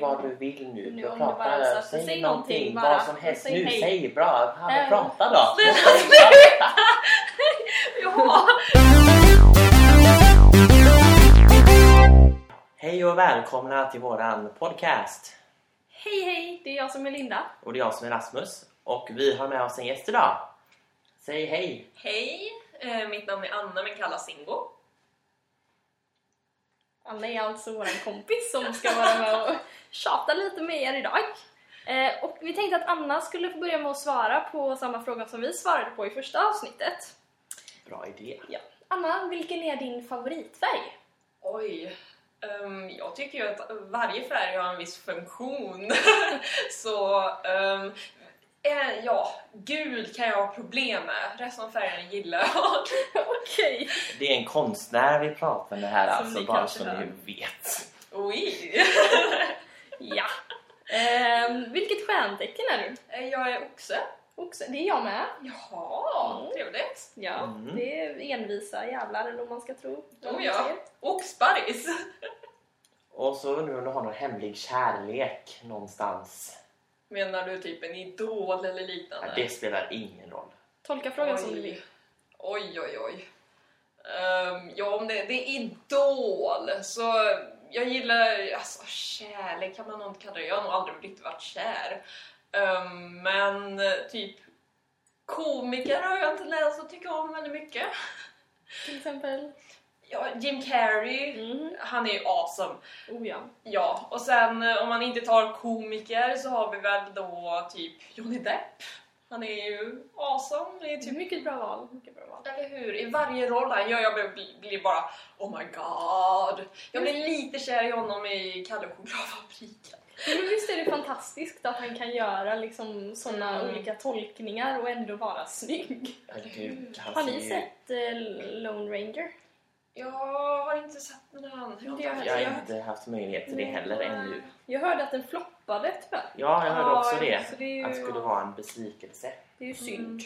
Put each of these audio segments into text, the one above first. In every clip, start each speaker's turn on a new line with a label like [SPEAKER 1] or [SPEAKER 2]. [SPEAKER 1] vad du vill nu.
[SPEAKER 2] Nu
[SPEAKER 1] Du
[SPEAKER 2] om
[SPEAKER 1] pratar,
[SPEAKER 2] du bara så-
[SPEAKER 1] säg,
[SPEAKER 2] säg
[SPEAKER 1] någonting,
[SPEAKER 2] någonting
[SPEAKER 1] bara.
[SPEAKER 2] bara.
[SPEAKER 1] vad som helst.
[SPEAKER 2] Säg
[SPEAKER 1] nu,
[SPEAKER 2] hej.
[SPEAKER 1] säg bra. Fan, men
[SPEAKER 2] Nej.
[SPEAKER 1] prata då.
[SPEAKER 2] Sluta,
[SPEAKER 1] Prata.
[SPEAKER 2] Ja.
[SPEAKER 1] Hej och välkomna till våran podcast.
[SPEAKER 2] Hej hej, det är jag som är Linda.
[SPEAKER 1] Och det är jag som är Rasmus. Och vi har med oss en gäst idag. Säg hej.
[SPEAKER 3] Hej! Eh, mitt namn är Anna men kallas Singo.
[SPEAKER 2] Anna är alltså vår kompis som ska vara med och tjata lite med er idag. Eh, och vi tänkte att Anna skulle få börja med att svara på samma fråga som vi svarade på i första avsnittet.
[SPEAKER 1] Bra idé.
[SPEAKER 2] Anna, vilken är din favoritfärg?
[SPEAKER 3] Oj! Ehm, jag tycker ju att varje färg har en viss funktion. Så ehm, eh, ja, gul kan jag ha problem med. Resten av färgerna gillar jag.
[SPEAKER 2] Okej.
[SPEAKER 1] Det är en konstnär vi pratar med här
[SPEAKER 3] Som
[SPEAKER 1] alltså.
[SPEAKER 3] ni
[SPEAKER 1] Bara
[SPEAKER 3] kanske
[SPEAKER 1] som
[SPEAKER 3] hör.
[SPEAKER 1] ni vet.
[SPEAKER 3] Oj!
[SPEAKER 2] Ja. Ehm, vilket stjärntecken är du?
[SPEAKER 3] Eh, jag är oxe.
[SPEAKER 2] Oxe. Det är jag med.
[SPEAKER 3] Jaha,
[SPEAKER 2] Mm.
[SPEAKER 3] trevligt.
[SPEAKER 2] Ja,
[SPEAKER 1] Mm.
[SPEAKER 2] det är envisa jävlar eller om man ska tro. vad
[SPEAKER 3] Oh
[SPEAKER 2] de
[SPEAKER 3] ja.
[SPEAKER 2] säger.
[SPEAKER 3] Oxbergs.
[SPEAKER 1] Och så undrar jag om du har någon hemlig kärlek någonstans.
[SPEAKER 3] Menar du typ en idol eller
[SPEAKER 1] Ja,
[SPEAKER 3] liknande?
[SPEAKER 1] det spelar ingen roll.
[SPEAKER 2] Tolka frågan som du vill.
[SPEAKER 3] Oj, oj, oj. Ehm, ja, om det, det är Idol, så jag gillar... Alltså, kärlek kan man nog inte kalla det. Jag har nog aldrig riktigt varit kär. Ehm, men eh, typ komiker har jag inte läst och tycker om väldigt mycket.
[SPEAKER 2] Till exempel.
[SPEAKER 3] Ja, Jim Carrey,
[SPEAKER 2] Mm.
[SPEAKER 3] han är ju awesome.
[SPEAKER 2] Oh ja.
[SPEAKER 3] Ja, och sen eh, om man inte tar komiker så har vi väl då typ Johnny Depp. Han är ju awesome. Det är typ
[SPEAKER 2] Mycket bra val. Mycket bra val.
[SPEAKER 3] Eller hur? I varje roll han gör, jag blir, blir bara oh my god. Jag blir lite kär i honom i Kalle och chokladfabriken.
[SPEAKER 2] Men visst är det fantastiskt att han kan göra liksom såna
[SPEAKER 3] Mm.
[SPEAKER 2] olika tolkningar och ändå vara snygg.
[SPEAKER 1] Ja, Gud, han
[SPEAKER 2] Mm. Har
[SPEAKER 1] ser
[SPEAKER 2] ni
[SPEAKER 1] ju-
[SPEAKER 2] sett eh, Lone Ranger?
[SPEAKER 3] Jag har inte sett den än. Jag har
[SPEAKER 2] Det har
[SPEAKER 3] inte-
[SPEAKER 1] Jag har
[SPEAKER 2] jag-
[SPEAKER 1] inte haft möjlighet till det
[SPEAKER 2] Nej.
[SPEAKER 1] heller ännu.
[SPEAKER 2] Jag hörde att den floppade tyvärr.
[SPEAKER 1] Ja, jag hörde
[SPEAKER 3] Ja,
[SPEAKER 1] också
[SPEAKER 3] jag
[SPEAKER 1] det.
[SPEAKER 2] Så det är
[SPEAKER 1] Att det
[SPEAKER 2] ju,
[SPEAKER 1] skulle vara Mm. en besvikelse.
[SPEAKER 2] det är ju synd.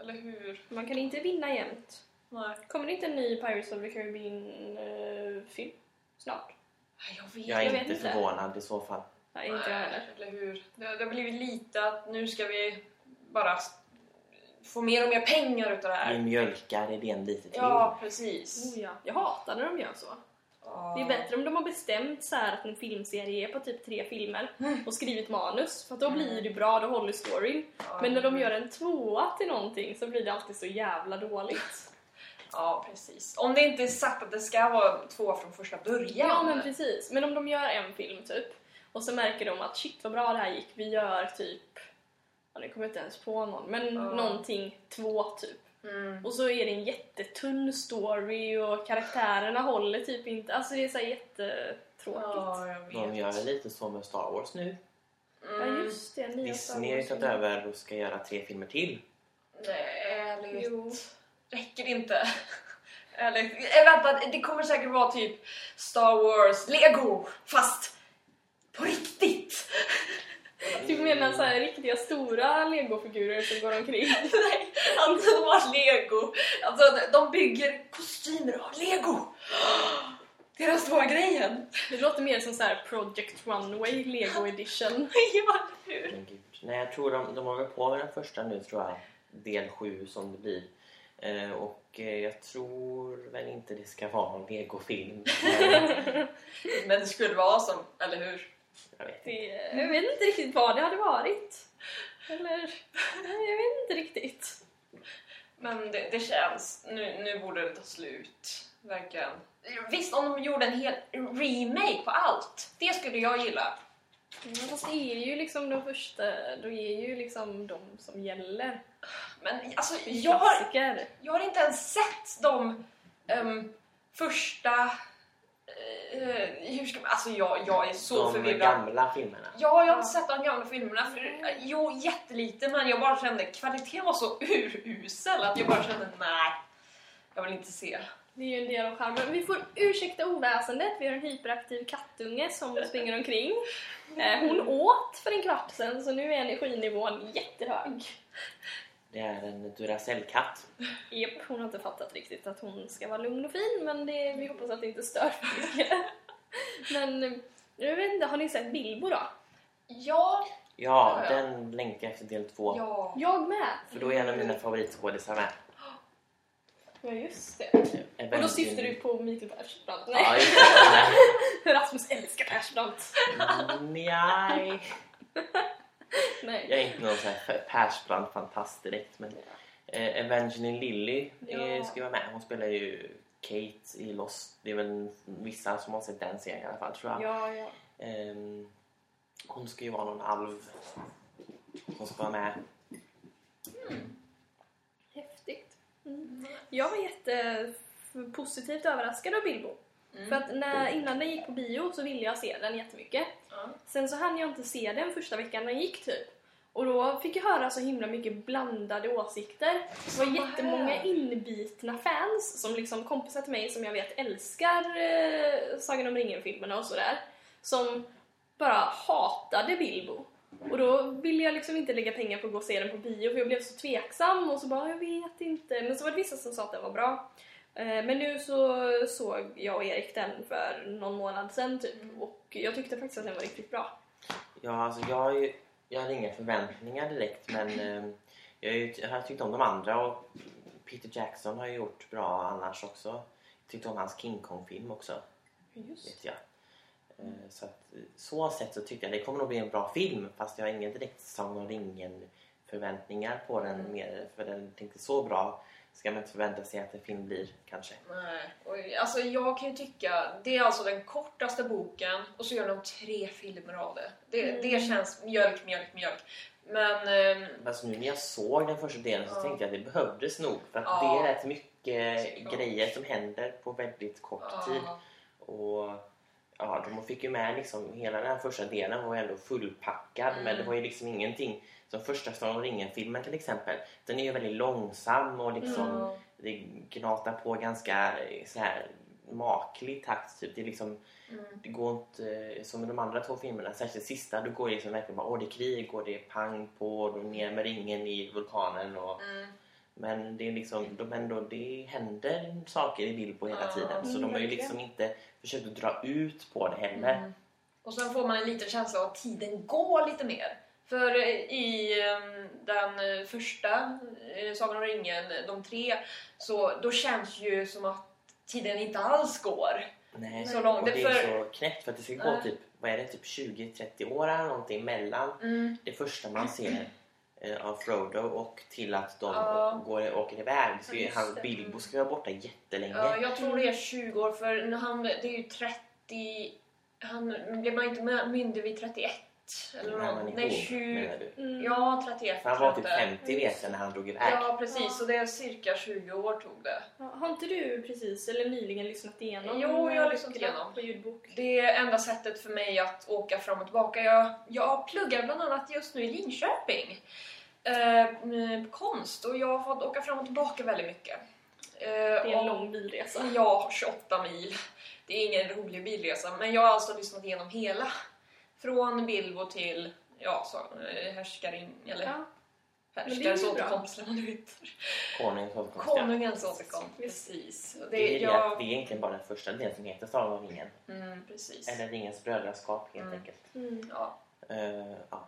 [SPEAKER 3] Eller hur?
[SPEAKER 2] Man kan inte vinna jämt.
[SPEAKER 3] Nej.
[SPEAKER 2] Kommer det inte en ny Pirates of the Caribbean-film snart?
[SPEAKER 3] Nej, Jag vet,
[SPEAKER 1] Jag är
[SPEAKER 2] Jag vet
[SPEAKER 1] inte
[SPEAKER 2] inte.
[SPEAKER 1] förvånad i så fall.
[SPEAKER 2] Nej, inte jag heller.
[SPEAKER 3] Eller hur? Det, det har blivit lite att nu ska vi bara få mer och mer pengar utav det
[SPEAKER 1] Vi
[SPEAKER 3] här.
[SPEAKER 1] mjölkar idén lite till.
[SPEAKER 3] Ja, precis.
[SPEAKER 2] Oh, ja. Jag hatar när de gör så.
[SPEAKER 3] Ja.
[SPEAKER 2] Det är bättre om de har bestämt så här att en filmserie är på typ tre filmer och skrivit manus, för att då
[SPEAKER 1] Mm.
[SPEAKER 2] blir det bra, då håller storyn.
[SPEAKER 3] Ja.
[SPEAKER 2] Men när de gör en tvåa till någonting så blir det alltid så jävla dåligt.
[SPEAKER 3] Ja, precis. Om det inte är sagt att det ska vara två från första början.
[SPEAKER 2] Ja men precis, men om de gör en film typ och så märker de att shit vad bra det här gick, vi gör typ Ja, nu kommer jag inte ens på någon, men
[SPEAKER 3] Ja.
[SPEAKER 2] någonting två typ.
[SPEAKER 3] Mm.
[SPEAKER 2] Och så är det en jättetunn story och karaktärerna håller typ inte, alltså det är så här jättetråkigt.
[SPEAKER 3] Ja, jag vet.
[SPEAKER 1] De gör lite så med Star Wars nu.
[SPEAKER 2] Ja
[SPEAKER 3] Mm.
[SPEAKER 2] just det, nya Star
[SPEAKER 1] Disney har ju tagit
[SPEAKER 2] Wars-filmer.
[SPEAKER 1] över och ska göra tre filmer till.
[SPEAKER 3] Nej, ärligt.
[SPEAKER 2] Jo.
[SPEAKER 3] Räcker inte. ärligt. Äh, vänta, det kommer säkert vara typ Star Wars, Lego, fast på riktigt.
[SPEAKER 2] Du menar så här riktiga stora legofigurer som går omkring?
[SPEAKER 3] Nej, alltså de har Lego. Alltså de bygger kostymer av Lego. Det är den stora grejen.
[SPEAKER 2] Det låter mer som så här Project Runway Lego edition.
[SPEAKER 3] ja, hur?
[SPEAKER 1] Men gud. Nej, jag tror de, de håller på med den första nu tror jag. Del sju som det blir. Eh, och eh, jag tror väl inte det ska vara någon legofilm. Men
[SPEAKER 3] Men det skulle vara som, eller hur?
[SPEAKER 1] jag vet inte.
[SPEAKER 2] Det, jag vet inte riktigt vad det hade varit. Eller, nej, jag vet inte riktigt.
[SPEAKER 3] Men det, det känns, nu, nu borde det ta slut. Verkligen. Visst, om de gjorde en hel remake på allt. Det skulle jag gilla.
[SPEAKER 2] Men Mm, fast det är ju liksom de första, då är ju liksom de som gäller.
[SPEAKER 3] Men alltså,
[SPEAKER 2] Det är
[SPEAKER 3] jag har,
[SPEAKER 2] Klassiker.
[SPEAKER 3] jag har inte ens sett de ehm, första... eh, hur ska man, alltså jag, jag är så
[SPEAKER 1] De
[SPEAKER 3] förvirrad.
[SPEAKER 1] gamla filmerna.
[SPEAKER 3] Ja, jag har inte sett de gamla filmerna. För, eh, jo, jättelite, men jag bara kände kvaliteten var så urusel att jag bara kände nej, jag vill inte se.
[SPEAKER 2] Det är ju en del av charmen. Vi får ursäkta oväsendet. Vi har en hyperaktiv kattunge som springer omkring. Eh, Hon åt för en kvart sedan så nu är energinivån jättehög.
[SPEAKER 1] Det är en Duracell-katt.
[SPEAKER 2] Japp, hon har inte fattat riktigt att hon ska vara lugn och fin men det, vi hoppas att det inte stör för mycket. Men Jag vet inte, har ni sett Bilbo då?
[SPEAKER 3] Ja,
[SPEAKER 1] Ja,
[SPEAKER 3] Ja, ja.
[SPEAKER 1] den länkar jag efter del två.
[SPEAKER 3] ja.
[SPEAKER 2] Jag med!
[SPEAKER 1] För då är en av mina favoritskådisar med.
[SPEAKER 2] Ja, just det.
[SPEAKER 1] Är
[SPEAKER 2] Och då
[SPEAKER 1] väldigt
[SPEAKER 2] syftar
[SPEAKER 1] grym.
[SPEAKER 2] du på Mikael Persbrandt?
[SPEAKER 1] Ja,
[SPEAKER 2] Nej,
[SPEAKER 1] just det.
[SPEAKER 2] Rasmus älskar Persbrandt!
[SPEAKER 1] Nej. Nej.
[SPEAKER 2] Nej.
[SPEAKER 1] Jag är inte någon sån här Persbrandt-fantast direkt. Men eh, Evangeline Lilly eh,
[SPEAKER 2] Ja.
[SPEAKER 1] ska ju vara med. Hon spelar ju Kate i Lost. Det är väl vissa som har sett den serien i alla fall tror jag.
[SPEAKER 2] Ja, ja.
[SPEAKER 1] Ehm, hon ska ju vara någon alv. Hon ska vara med.
[SPEAKER 2] Häftigt. Mm. Jag var jättepositivt överraskad av Bilbo.
[SPEAKER 3] Mm.
[SPEAKER 2] För att när, innan den gick på bio så ville jag se den jättemycket.
[SPEAKER 3] Ja.
[SPEAKER 2] Sen så hann jag inte se den första veckan den gick typ. Och då fick jag höra så himla mycket blandade åsikter. Det var
[SPEAKER 3] Samma
[SPEAKER 2] jättemånga
[SPEAKER 3] här.
[SPEAKER 2] inbitna fans, som liksom kompisar till mig som jag vet älskar eh, Sagan om ringen-filmerna och sådär. Som bara hatade Bilbo. Och då ville jag liksom inte lägga pengar på att gå och se den på bio för jag blev så tveksam och så bara jag vet inte. Men så var det vissa som sa att den var bra. Eh, Men nu så såg jag och Erik den för någon månad sedan
[SPEAKER 3] Mm.
[SPEAKER 2] typ och jag tyckte faktiskt att den var riktigt bra.
[SPEAKER 1] Ja, alltså jag har ju jag har inga förväntningar direkt men ehm, jag, har ju, jag har tyckt om de andra och Peter Jackson har ju gjort bra annars också. Jag tyckte om hans King Kong-film också.
[SPEAKER 2] Just.
[SPEAKER 1] vet jag. Eh, Så att, eh, så sett så tycker jag det kommer nog bli en bra film fast jag har ingen direkt Sagan om ringen förväntningar på den
[SPEAKER 3] Mm.
[SPEAKER 1] mer för den är inte så bra ska man inte förvänta sig att en film blir kanske.
[SPEAKER 3] Nej. Och, alltså, jag kan ju tycka, det är alltså den kortaste boken och så gör de tre filmer av det. Det,
[SPEAKER 2] Mm.
[SPEAKER 3] det känns mjölk, mjölk, mjölk. Men ehm,
[SPEAKER 1] Fast nu när jag såg den första delen så
[SPEAKER 3] Ja.
[SPEAKER 1] tänkte jag att det behövdes nog för att
[SPEAKER 3] Ja.
[SPEAKER 1] det är rätt mycket
[SPEAKER 3] Såklart.
[SPEAKER 1] grejer som händer på väldigt kort tid.
[SPEAKER 3] ja,
[SPEAKER 1] Och ja, de fick ju med liksom hela den här första delen var ju ändå fullpackad
[SPEAKER 3] Mm.
[SPEAKER 1] men det var ju liksom ingenting som första Sagan om ringen-filmen till exempel. Den är ju väldigt långsam och liksom
[SPEAKER 3] ja.
[SPEAKER 1] det gnatar på ganska eh, så här maklig takt. Typ. Det, är liksom,
[SPEAKER 3] Mm.
[SPEAKER 1] det går inte eh, som i de andra två filmerna, särskilt sista, då går det liksom verkligen bara åh det är krig och det är pang på och då ner med ringen i vulkanen. Och,
[SPEAKER 3] Mm.
[SPEAKER 1] men det är liksom, de ändå, det händer saker i Bilbo hela
[SPEAKER 3] Ja.
[SPEAKER 1] tiden så
[SPEAKER 2] Mm,
[SPEAKER 1] de har ju
[SPEAKER 2] verkligen.
[SPEAKER 1] liksom inte försökt att dra ut på det heller.
[SPEAKER 3] Mm. Och sen får man en liten känsla av att tiden går lite mer. För eh, i ehm, den eh, första eh, Sagan om ringen, eh, de tre, så då känns ju som att tiden inte alls går.
[SPEAKER 1] Nej.
[SPEAKER 3] Så långt.
[SPEAKER 1] Och det är
[SPEAKER 3] för-
[SPEAKER 1] så knäppt för att det ska gå
[SPEAKER 3] Nej.
[SPEAKER 1] typ, vad är det, typ 20-30 år eller någonting mellan
[SPEAKER 3] Mm.
[SPEAKER 1] det första man ser eh, av Frodo och till att de
[SPEAKER 3] Ja.
[SPEAKER 1] går, åker iväg. Så
[SPEAKER 3] Ja, just
[SPEAKER 1] han,
[SPEAKER 3] det.
[SPEAKER 1] Bilbo ska vara borta jättelänge.
[SPEAKER 3] Ja, jag tror det är 20 år, för nu han, det är ju 30... Han blev man inte my- myndig vid 31?
[SPEAKER 1] när
[SPEAKER 3] Eller
[SPEAKER 1] man
[SPEAKER 3] något?
[SPEAKER 1] är
[SPEAKER 3] Nej,
[SPEAKER 1] ung,
[SPEAKER 3] 20...
[SPEAKER 1] menar du?
[SPEAKER 2] Mm.
[SPEAKER 3] Ja, 31
[SPEAKER 1] För han var typ
[SPEAKER 3] tror jag inte.
[SPEAKER 1] 50 vet jag när han drog iväg.
[SPEAKER 3] Ja, precis.
[SPEAKER 2] Ja.
[SPEAKER 3] Så det är cirka 20 år tog det.
[SPEAKER 2] Ja, Har inte du precis eller nyligen lyssnat igenom
[SPEAKER 3] Jo, jag har
[SPEAKER 2] eh,
[SPEAKER 3] lyssnat
[SPEAKER 2] böckerna
[SPEAKER 3] igenom.
[SPEAKER 2] på ljudbok?
[SPEAKER 3] Det är enda sättet för mig att åka fram och tillbaka. Jag, jag pluggar bland annat just nu i Linköping. Eh, m- konst och jag har fått åka fram och tillbaka väldigt mycket.
[SPEAKER 2] Det
[SPEAKER 3] Eh,
[SPEAKER 2] är en lång bilresa.
[SPEAKER 3] Ja, 28 mil. Det är ingen rolig bilresa, men jag har alltså lyssnat igenom hela. Från Bilbo till ja, så, eh, härskarin, eller
[SPEAKER 2] Ja, men det är
[SPEAKER 3] härskarens
[SPEAKER 2] ju bra.
[SPEAKER 3] återkomst eller vad det heter.
[SPEAKER 1] Konungens återkomst. ja.
[SPEAKER 3] Konungens återkomst,
[SPEAKER 2] Visst.
[SPEAKER 3] precis.
[SPEAKER 1] Det
[SPEAKER 3] Det,
[SPEAKER 1] är, det, att det
[SPEAKER 3] jag,
[SPEAKER 1] är egentligen bara den första delen som heter Sagan om ringen.
[SPEAKER 3] mm, precis.
[SPEAKER 1] Eller Ringens brödraskap helt
[SPEAKER 3] Mm.
[SPEAKER 1] enkelt.
[SPEAKER 2] mm.
[SPEAKER 3] Ja.
[SPEAKER 1] Eh, ja.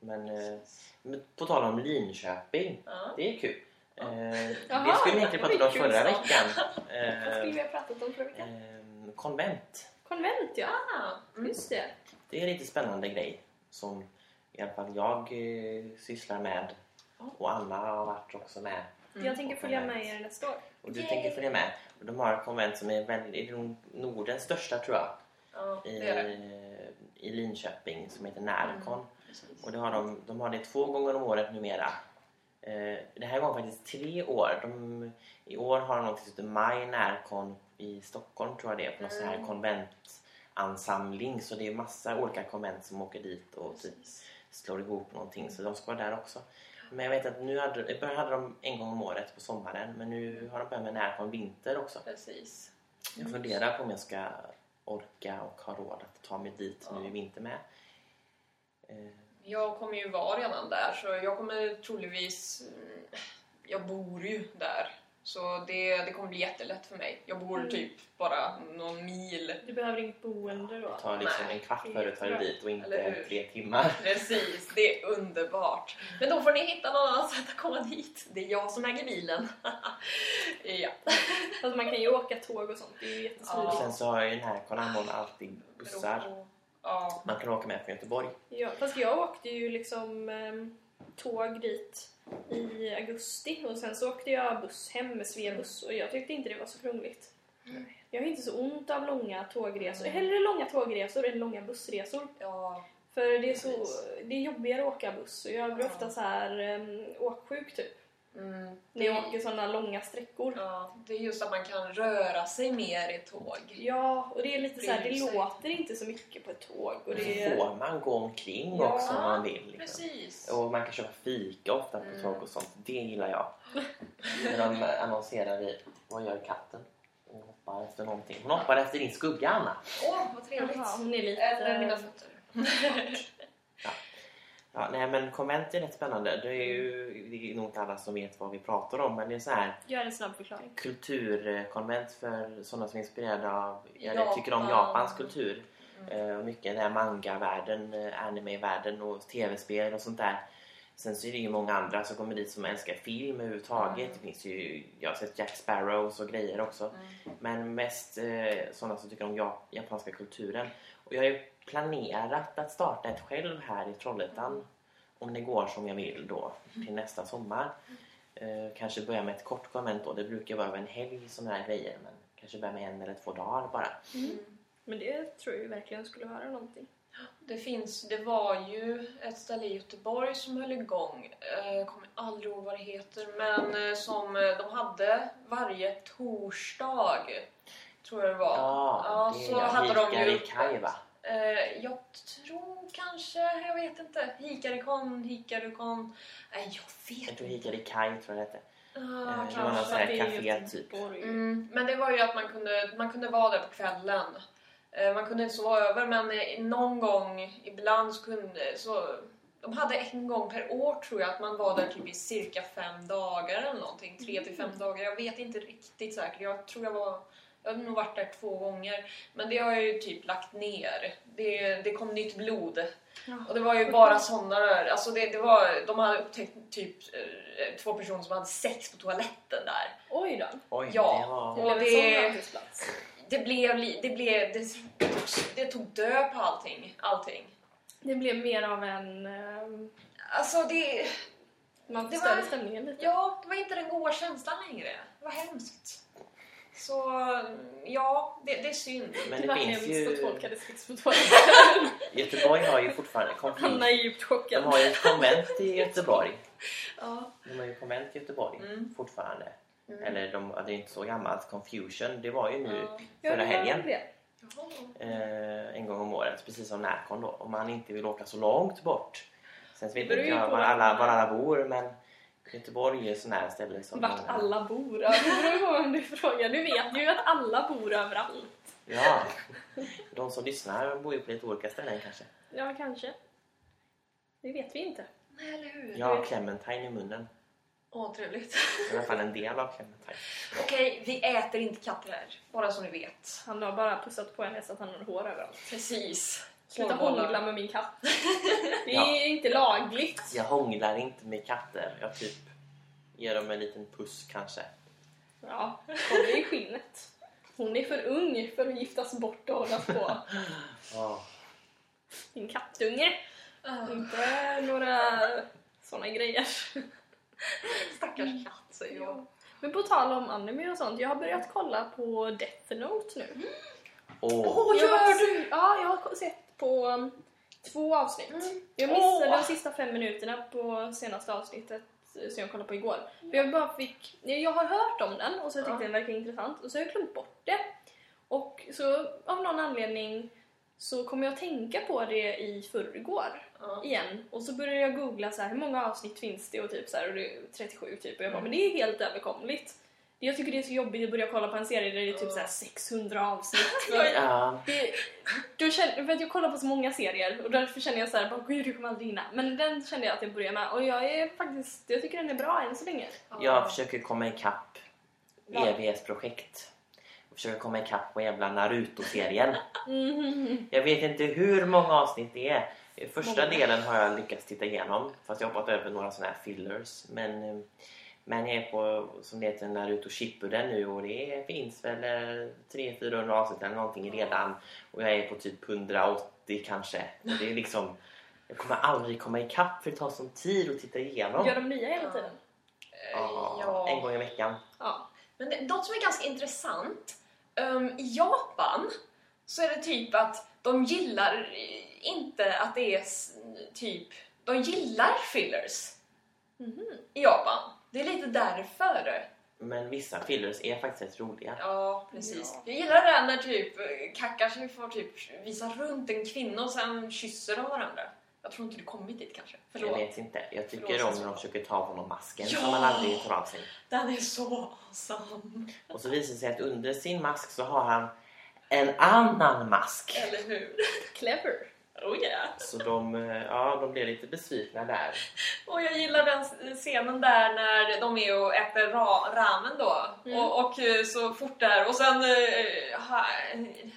[SPEAKER 1] Men eh, men på tal om Linköping,
[SPEAKER 3] Ja.
[SPEAKER 1] det är kul. Eh,
[SPEAKER 2] Jaha,
[SPEAKER 1] det skulle vi egentligen
[SPEAKER 2] det
[SPEAKER 1] prata om
[SPEAKER 2] var ju kul
[SPEAKER 1] förra
[SPEAKER 2] så.
[SPEAKER 1] veckan.
[SPEAKER 2] Vad skulle
[SPEAKER 1] Eh,
[SPEAKER 2] vi ha pratat om förra veckan?
[SPEAKER 1] eh, konvent.
[SPEAKER 2] Konvent ja,
[SPEAKER 3] Ah, mm.
[SPEAKER 2] just det.
[SPEAKER 1] Det är en lite spännande grej som i alla fall jag eh, sysslar med och Anna har varit också med.
[SPEAKER 3] Mm.
[SPEAKER 2] Jag tänker följa med er nästa år.
[SPEAKER 1] Och du
[SPEAKER 3] Yay!
[SPEAKER 1] tänker följa med. Och de har ett konvent som är väldigt, Nordens största tror jag,
[SPEAKER 3] Ja,
[SPEAKER 1] i,
[SPEAKER 3] det är det.
[SPEAKER 1] i Linköping som heter Närcon.
[SPEAKER 3] Precis.
[SPEAKER 1] Och det har de, de har det två gånger om året numera. Eh, det här gången faktiskt tre år. De, I år har de något som heter Maj Närcon i Stockholm tror jag det är. På någon sån här
[SPEAKER 3] Mm.
[SPEAKER 1] konventansamling. Så det är massa olika konvent som åker dit och typ
[SPEAKER 3] Precis.
[SPEAKER 1] slår ihop någonting så de ska vara där också. Men jag vet att nu hade, i början hade de en gång om året på sommaren men nu har de börjat med närcon vinter också.
[SPEAKER 3] Precis. Mm.
[SPEAKER 1] Jag funderar på om jag ska orka och ha råd att ta mig dit nu
[SPEAKER 3] Ja.
[SPEAKER 1] i vinter med. Eh,
[SPEAKER 3] Jag kommer ju vara redan där så jag kommer troligtvis... mm, Jag bor ju där. Så det, det kommer bli jättelätt för mig. Jag bor
[SPEAKER 2] Mm.
[SPEAKER 3] typ bara någon mil.
[SPEAKER 2] Du behöver inget boende då?
[SPEAKER 1] Det tar liksom en kvart
[SPEAKER 2] det är
[SPEAKER 1] före att ta dig
[SPEAKER 2] jättebra.
[SPEAKER 1] dit och
[SPEAKER 3] Eller
[SPEAKER 1] inte
[SPEAKER 3] hur?
[SPEAKER 1] tre timmar.
[SPEAKER 3] Precis, det är underbart. Men då får ni hitta någon annan sätt att komma dit. Det är jag som äger bilen. ja.
[SPEAKER 2] Fast man kan ju åka tåg och sånt, det är ju
[SPEAKER 1] Och
[SPEAKER 2] jättesmidigt.
[SPEAKER 1] sen så har ju den här Konamon alltid bussar
[SPEAKER 3] Ja.
[SPEAKER 1] man kan åka med från Göteborg.
[SPEAKER 2] Ja, fast jag åkte ju liksom ehm, tåg dit i augusti och sen så åkte jag buss hem med Sveabuss och jag tyckte inte det var så krångligt.
[SPEAKER 3] Nej.
[SPEAKER 2] Jag har inte så ont av långa tågresor. Hellre långa tågresor än långa bussresor.
[SPEAKER 3] ja.
[SPEAKER 2] För det är, så,
[SPEAKER 3] Precis.
[SPEAKER 2] det är jobbigare att åka buss och jag blir
[SPEAKER 3] Ja.
[SPEAKER 2] ofta så här ehm, åksjuk typ.
[SPEAKER 3] Mm.
[SPEAKER 2] När jag åker sådana långa sträckor.
[SPEAKER 3] ja. Det är just att man kan röra sig mer i tåg.
[SPEAKER 2] Ja, och det är lite så här, det
[SPEAKER 3] Bryr sig.
[SPEAKER 2] låter inte så mycket på ett tåg. Och
[SPEAKER 1] Och
[SPEAKER 2] det
[SPEAKER 1] så får man gå omkring
[SPEAKER 2] Ja,
[SPEAKER 1] också om man vill. Liksom.
[SPEAKER 3] Precis.
[SPEAKER 1] Och man kan köpa fika ofta på
[SPEAKER 3] Mm.
[SPEAKER 1] tåg och sånt. Det gillar jag. När de annonserar i Vad gör katten? Hon hoppar efter någonting. Hon hoppar efter din skugga, Anna.
[SPEAKER 3] Åh, vad trevligt.
[SPEAKER 2] Jaha, hon är lite...
[SPEAKER 3] Eller mina fötter.
[SPEAKER 1] Ja, nej men konvent är rätt spännande. Det är ju det är nog inte alla som vet vad vi pratar om men det är så här
[SPEAKER 2] Gör en snabb förklaring.
[SPEAKER 1] kulturkonvent för sådana som är inspirerade av, eller
[SPEAKER 3] Japan.
[SPEAKER 1] tycker om Japans kultur. Eh, mycket den här manga-världen, eh, anime-världen och tv-spel och sånt där. Sen så är det ju många andra som kommer dit som älskar film överhuvudtaget.
[SPEAKER 3] Mm.
[SPEAKER 1] Det finns ju, jag har sett Jack Sparrows och grejer också.
[SPEAKER 3] Mm.
[SPEAKER 1] Men mest eh, sådana som tycker om ja, japanska kulturen. Och jag har ju planerat att starta ett själv här i Trollhättan.
[SPEAKER 3] Mm.
[SPEAKER 1] Om det går som jag vill då till nästa sommar.
[SPEAKER 3] Mm.
[SPEAKER 1] Eh, kanske börja med ett kort konvent då. Det brukar vara över en helg sådana här grejer. Men kanske börja med en eller två dagar bara.
[SPEAKER 3] Mm.
[SPEAKER 2] Men det tror jag ju verkligen skulle vara någonting.
[SPEAKER 3] Det finns, det var ju ett ställe i Göteborg som höll igång, eh, jag kommer aldrig ihåg vad det heter, men eh, som eh, de hade varje torsdag, tror jag det var.
[SPEAKER 1] Ja,
[SPEAKER 3] Ja,
[SPEAKER 1] det är
[SPEAKER 3] så
[SPEAKER 1] jag.
[SPEAKER 3] hade de
[SPEAKER 1] Hikar
[SPEAKER 3] ju-
[SPEAKER 1] i kaj va?
[SPEAKER 3] Eh, jag tror kanske, jag vet inte, Hikarikon, Hikarikon, nej jag
[SPEAKER 1] Jag
[SPEAKER 3] vet
[SPEAKER 1] tror
[SPEAKER 3] inte.
[SPEAKER 1] Hikar i kaj tror jag det hette.
[SPEAKER 3] Ah,
[SPEAKER 1] eh, det var någon
[SPEAKER 3] kanske.
[SPEAKER 1] sån här
[SPEAKER 2] Det är ju
[SPEAKER 1] café typ.
[SPEAKER 2] Göteborg.
[SPEAKER 3] Mm, men det var ju att man kunde, man kunde vara där på kvällen. Eh, Man kunde inte sova över men eh, någon gång ibland så kunde... Så, de hade en gång per år tror jag att man var där typ i cirka fem dagar eller någonting. Tre till fem dagar. Jag vet inte riktigt säkert. Jag tror jag var... Jag har nog varit där två gånger. Men det har jag ju typ lagt ner. Det, det kom nytt blod. Och det var ju bara sådana där. Alltså det, det var, de hade upptäckt typ eh, två personer som hade sex på toaletten där.
[SPEAKER 2] Oj då.
[SPEAKER 1] Oj,
[SPEAKER 3] Ja.
[SPEAKER 1] det var...
[SPEAKER 2] Det
[SPEAKER 3] Och
[SPEAKER 2] blev en
[SPEAKER 3] det-
[SPEAKER 2] sån mötesplats.
[SPEAKER 3] det blev, li- det blev det, det tog död på allting. allting.
[SPEAKER 2] Det blev mer av en... ehm,
[SPEAKER 3] Alltså det,
[SPEAKER 2] Man
[SPEAKER 3] Det
[SPEAKER 2] förstörde
[SPEAKER 3] var-
[SPEAKER 2] stämningen lite.
[SPEAKER 3] ja, det var inte den goda känslan längre. Det var hemskt. Så ja, det, det är synd.
[SPEAKER 1] Men
[SPEAKER 2] det,
[SPEAKER 1] det
[SPEAKER 2] var
[SPEAKER 1] finns
[SPEAKER 2] hemskt att
[SPEAKER 1] ju...
[SPEAKER 2] folk hade sex på toaletten.
[SPEAKER 1] Göteborg har ju fortfarande
[SPEAKER 2] Hanna
[SPEAKER 1] konflikt.
[SPEAKER 2] är djupt chockad.
[SPEAKER 1] De har ju ett konvent i Göteborg.
[SPEAKER 3] Ja.
[SPEAKER 1] De har ju konvent i Göteborg
[SPEAKER 3] Mm.
[SPEAKER 1] fortfarande.
[SPEAKER 3] Mm.
[SPEAKER 1] Eller de, ja, det är inte så gammalt. Confusion, det var ju nu
[SPEAKER 3] Ja.
[SPEAKER 2] Ja, det
[SPEAKER 1] Mm. förra
[SPEAKER 2] var
[SPEAKER 1] helgen.
[SPEAKER 2] det.
[SPEAKER 3] Jaha.
[SPEAKER 1] Eh, en gång om året, precis som Närcon då. Om man inte vill åka så långt bort. Sen så
[SPEAKER 2] Det
[SPEAKER 1] vet
[SPEAKER 2] beror
[SPEAKER 1] inte
[SPEAKER 2] ju
[SPEAKER 1] jag
[SPEAKER 2] på
[SPEAKER 1] var
[SPEAKER 2] vart
[SPEAKER 1] alla,
[SPEAKER 2] man
[SPEAKER 1] var
[SPEAKER 2] är.
[SPEAKER 1] alla bor men Göteborg är ju sån här ställe som...
[SPEAKER 2] Vart
[SPEAKER 1] många-
[SPEAKER 2] alla bor. Ja, Det beror ju på vem du frågar. Du vet ju att alla bor överallt.
[SPEAKER 1] Ja. De som lyssnar bor ju på lite olika ställen kanske.
[SPEAKER 2] Ja, kanske. Det vet vi inte.
[SPEAKER 3] Nej, eller hur?
[SPEAKER 1] Jag har Clementine i munnen.
[SPEAKER 3] Åh, trevligt.
[SPEAKER 1] I alla fall en del av Clementine.
[SPEAKER 3] Okej, vi äter inte katter här. Bara så ni vet.
[SPEAKER 2] Han har bara pussat på henne så att han har hår överallt.
[SPEAKER 3] Precis.
[SPEAKER 2] Sluta
[SPEAKER 3] Hårbollar.
[SPEAKER 2] hångla med min katt. Det är
[SPEAKER 1] Ja.
[SPEAKER 2] inte lagligt.
[SPEAKER 1] Jag hånglar inte med katter. Jag typ ger dem en liten puss kanske.
[SPEAKER 2] Ja, håll i skinnet. Hon är för ung för att giftas bort och hållas på.
[SPEAKER 1] Ja.
[SPEAKER 2] Din kattunge.
[SPEAKER 3] Ah,
[SPEAKER 2] Inte några såna grejer.
[SPEAKER 3] stackars katt, säger jag.
[SPEAKER 2] Men på tal om anime och sånt, jag har börjat kolla på Death Note nu.
[SPEAKER 1] Åh.
[SPEAKER 3] Åh,
[SPEAKER 2] Jag har-
[SPEAKER 3] gör du?
[SPEAKER 2] Ja, jag har sett på um, två avsnitt.
[SPEAKER 3] Mm.
[SPEAKER 2] Jag missade
[SPEAKER 3] Åh.
[SPEAKER 2] de sista fem minuterna på senaste avsnittet eh, som jag kollade på igår. För jag bara fick... Jag har hört om den och så tyckte
[SPEAKER 3] Ja.
[SPEAKER 2] den verkade intressant och så har jag glömt bort det. Och så av någon anledning så kom jag att tänka på det i förrgår
[SPEAKER 3] Ja.
[SPEAKER 2] igen och så började jag googla så här, hur många avsnitt finns det och typ så här, och det är 37 typ och jag bara
[SPEAKER 3] Mm.
[SPEAKER 2] men det är helt överkomligt. Jag tycker det är så jobbigt att börja kolla på en serie där det är typ så här 600 avsnitt. För-
[SPEAKER 1] Ja.
[SPEAKER 2] det, då känner, för att jag kollar på så många serier och därför känner jag så här, bara, gud du kommer aldrig hinna. Men den kände jag att jag började med och jag är faktiskt, jag tycker den är bra än så länge.
[SPEAKER 1] Jag försöker komma ikapp E
[SPEAKER 2] Ja.
[SPEAKER 1] evighetsprojekt. Och försöka komma ikapp på jävla Naruto-serien.
[SPEAKER 2] Mhm.
[SPEAKER 1] Jag vet inte hur många avsnitt det är. Första
[SPEAKER 2] Många.
[SPEAKER 1] delen har jag lyckats titta igenom. Fast jag har hoppat över några sådana här fillers. Men, eh, men jag är på, som det heter, Naruto Shippuden nu och det finns väl eh, 300-400 avsnitt eller någonting redan. Och jag är på typ 180 kanske. Och det är liksom... Jag kommer aldrig komma ikapp för det tar sån tid att titta igenom.
[SPEAKER 2] Gör de nya hela tiden?
[SPEAKER 3] Eh,
[SPEAKER 1] Ja, En gång i veckan.
[SPEAKER 2] Ja.
[SPEAKER 3] Men det, något som är ganska intressant. ehm, I Japan så är det typ att de gillar eh, inte att det är s- typ... De gillar fillers
[SPEAKER 2] Mhm.
[SPEAKER 3] i Japan. Det är lite därför.
[SPEAKER 1] Men vissa fillers är faktiskt rätt roliga.
[SPEAKER 3] Ja, precis.
[SPEAKER 2] Ja.
[SPEAKER 3] Jag gillar det här när typ eh, Kakashi får typ visa runt en kvinna och sen kysser de varandra. Jag tror inte du kommit dit kanske.
[SPEAKER 1] Jag
[SPEAKER 3] Förlåt.
[SPEAKER 1] vet inte. Jag tycker
[SPEAKER 3] Förlåt,
[SPEAKER 1] om när de
[SPEAKER 3] Sasha.
[SPEAKER 1] försöker ta av honom masken
[SPEAKER 3] Ja!
[SPEAKER 1] som han aldrig tar av sig.
[SPEAKER 3] Den är så awesome!
[SPEAKER 1] Och så visar det sig att under sin mask så har han en annan mask.
[SPEAKER 3] Eller hur?
[SPEAKER 2] Clever.
[SPEAKER 3] Oh yeah!
[SPEAKER 1] Så de, eh, ja, de blir lite besvikna där.
[SPEAKER 3] Och jag gillar den scenen där när de är och äter ra- ramen då.
[SPEAKER 2] Mm.
[SPEAKER 3] Och, och eh, så fort där. Och sen eh, ha,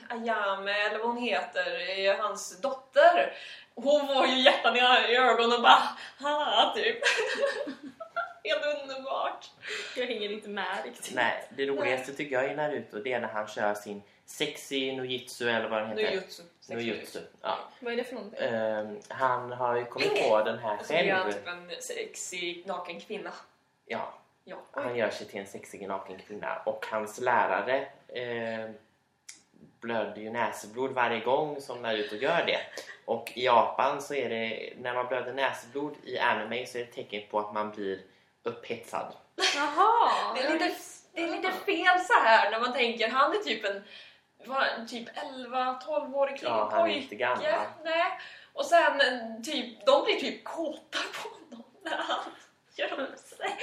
[SPEAKER 3] Ayame, eller vad hon heter, är hans dotter. Hon var ju hjärtan i i ögonen och bara ha typ. Helt underbart.
[SPEAKER 2] Jag hänger inte med riktigt.
[SPEAKER 1] Nej, det roligaste tycker jag i Naruto det är när han kör sin sexy nojutsu eller vad den heter.
[SPEAKER 3] Nujutsu.
[SPEAKER 1] Nojutsu. Ja.
[SPEAKER 2] Vad är det för någonting?
[SPEAKER 1] Ehm, han har ju kommit
[SPEAKER 3] Okej.
[SPEAKER 1] på den här
[SPEAKER 3] Och så blir han
[SPEAKER 1] själv.
[SPEAKER 3] typ en sexig naken kvinna.
[SPEAKER 1] Ja,
[SPEAKER 3] Ja.
[SPEAKER 1] han gör sig till en sexig naken kvinna och hans lärare ehm, blöder ju näsblod varje gång som Naruto gör det. Och i Japan så är det, när man blöder näsblod i anime så är det ett tecken på att man blir upphetsad.
[SPEAKER 2] Jaha!
[SPEAKER 3] Det är, lite, det är lite fel så här när man tänker han är typ en vad, en typ 11-12-årig kille
[SPEAKER 1] Ja, han är
[SPEAKER 3] pojke.
[SPEAKER 1] inte gammal.
[SPEAKER 3] Nej. Och sen en typ, de blir typ kåta på honom när han gör om sig.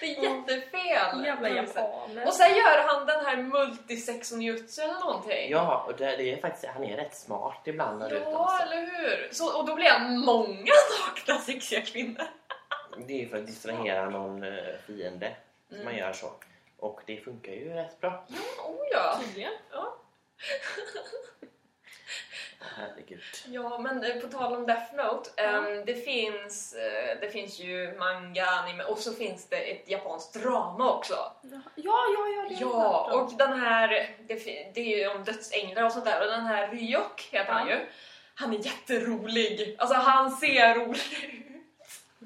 [SPEAKER 3] Det är
[SPEAKER 2] Mm.
[SPEAKER 3] jättefel.
[SPEAKER 2] Jävla
[SPEAKER 3] på något sätt.
[SPEAKER 2] japaner.
[SPEAKER 3] Och sen gör han den här multisexonjutsu eller någonting.
[SPEAKER 1] Ja, och det, det är faktiskt, han är rätt smart ibland Naruto.
[SPEAKER 3] Ja,
[SPEAKER 1] Alltså.
[SPEAKER 3] eller hur? Så, och då blir han många nakna sexiga kvinnor.
[SPEAKER 1] Det är ju för att distrahera någon eh, fiende som man
[SPEAKER 3] Mm.
[SPEAKER 1] gör så. Och det funkar ju rätt bra.
[SPEAKER 3] Oh, ja.
[SPEAKER 2] Tydligen.
[SPEAKER 1] Herregud.
[SPEAKER 3] Ja, men eh, på tal om Death Note. ehm, det, finns, eh, det finns ju manga, anime och så finns det ett japanskt drama också.
[SPEAKER 2] Ja, ja, ja. Det har jag
[SPEAKER 3] Ja,
[SPEAKER 2] hört om.
[SPEAKER 3] och den här, det, fi- det är ju om dödsänglar och sånt där och den här Ryok heter han
[SPEAKER 2] Ja.
[SPEAKER 3] ju. Han är jätterolig. Alltså han ser rolig ut.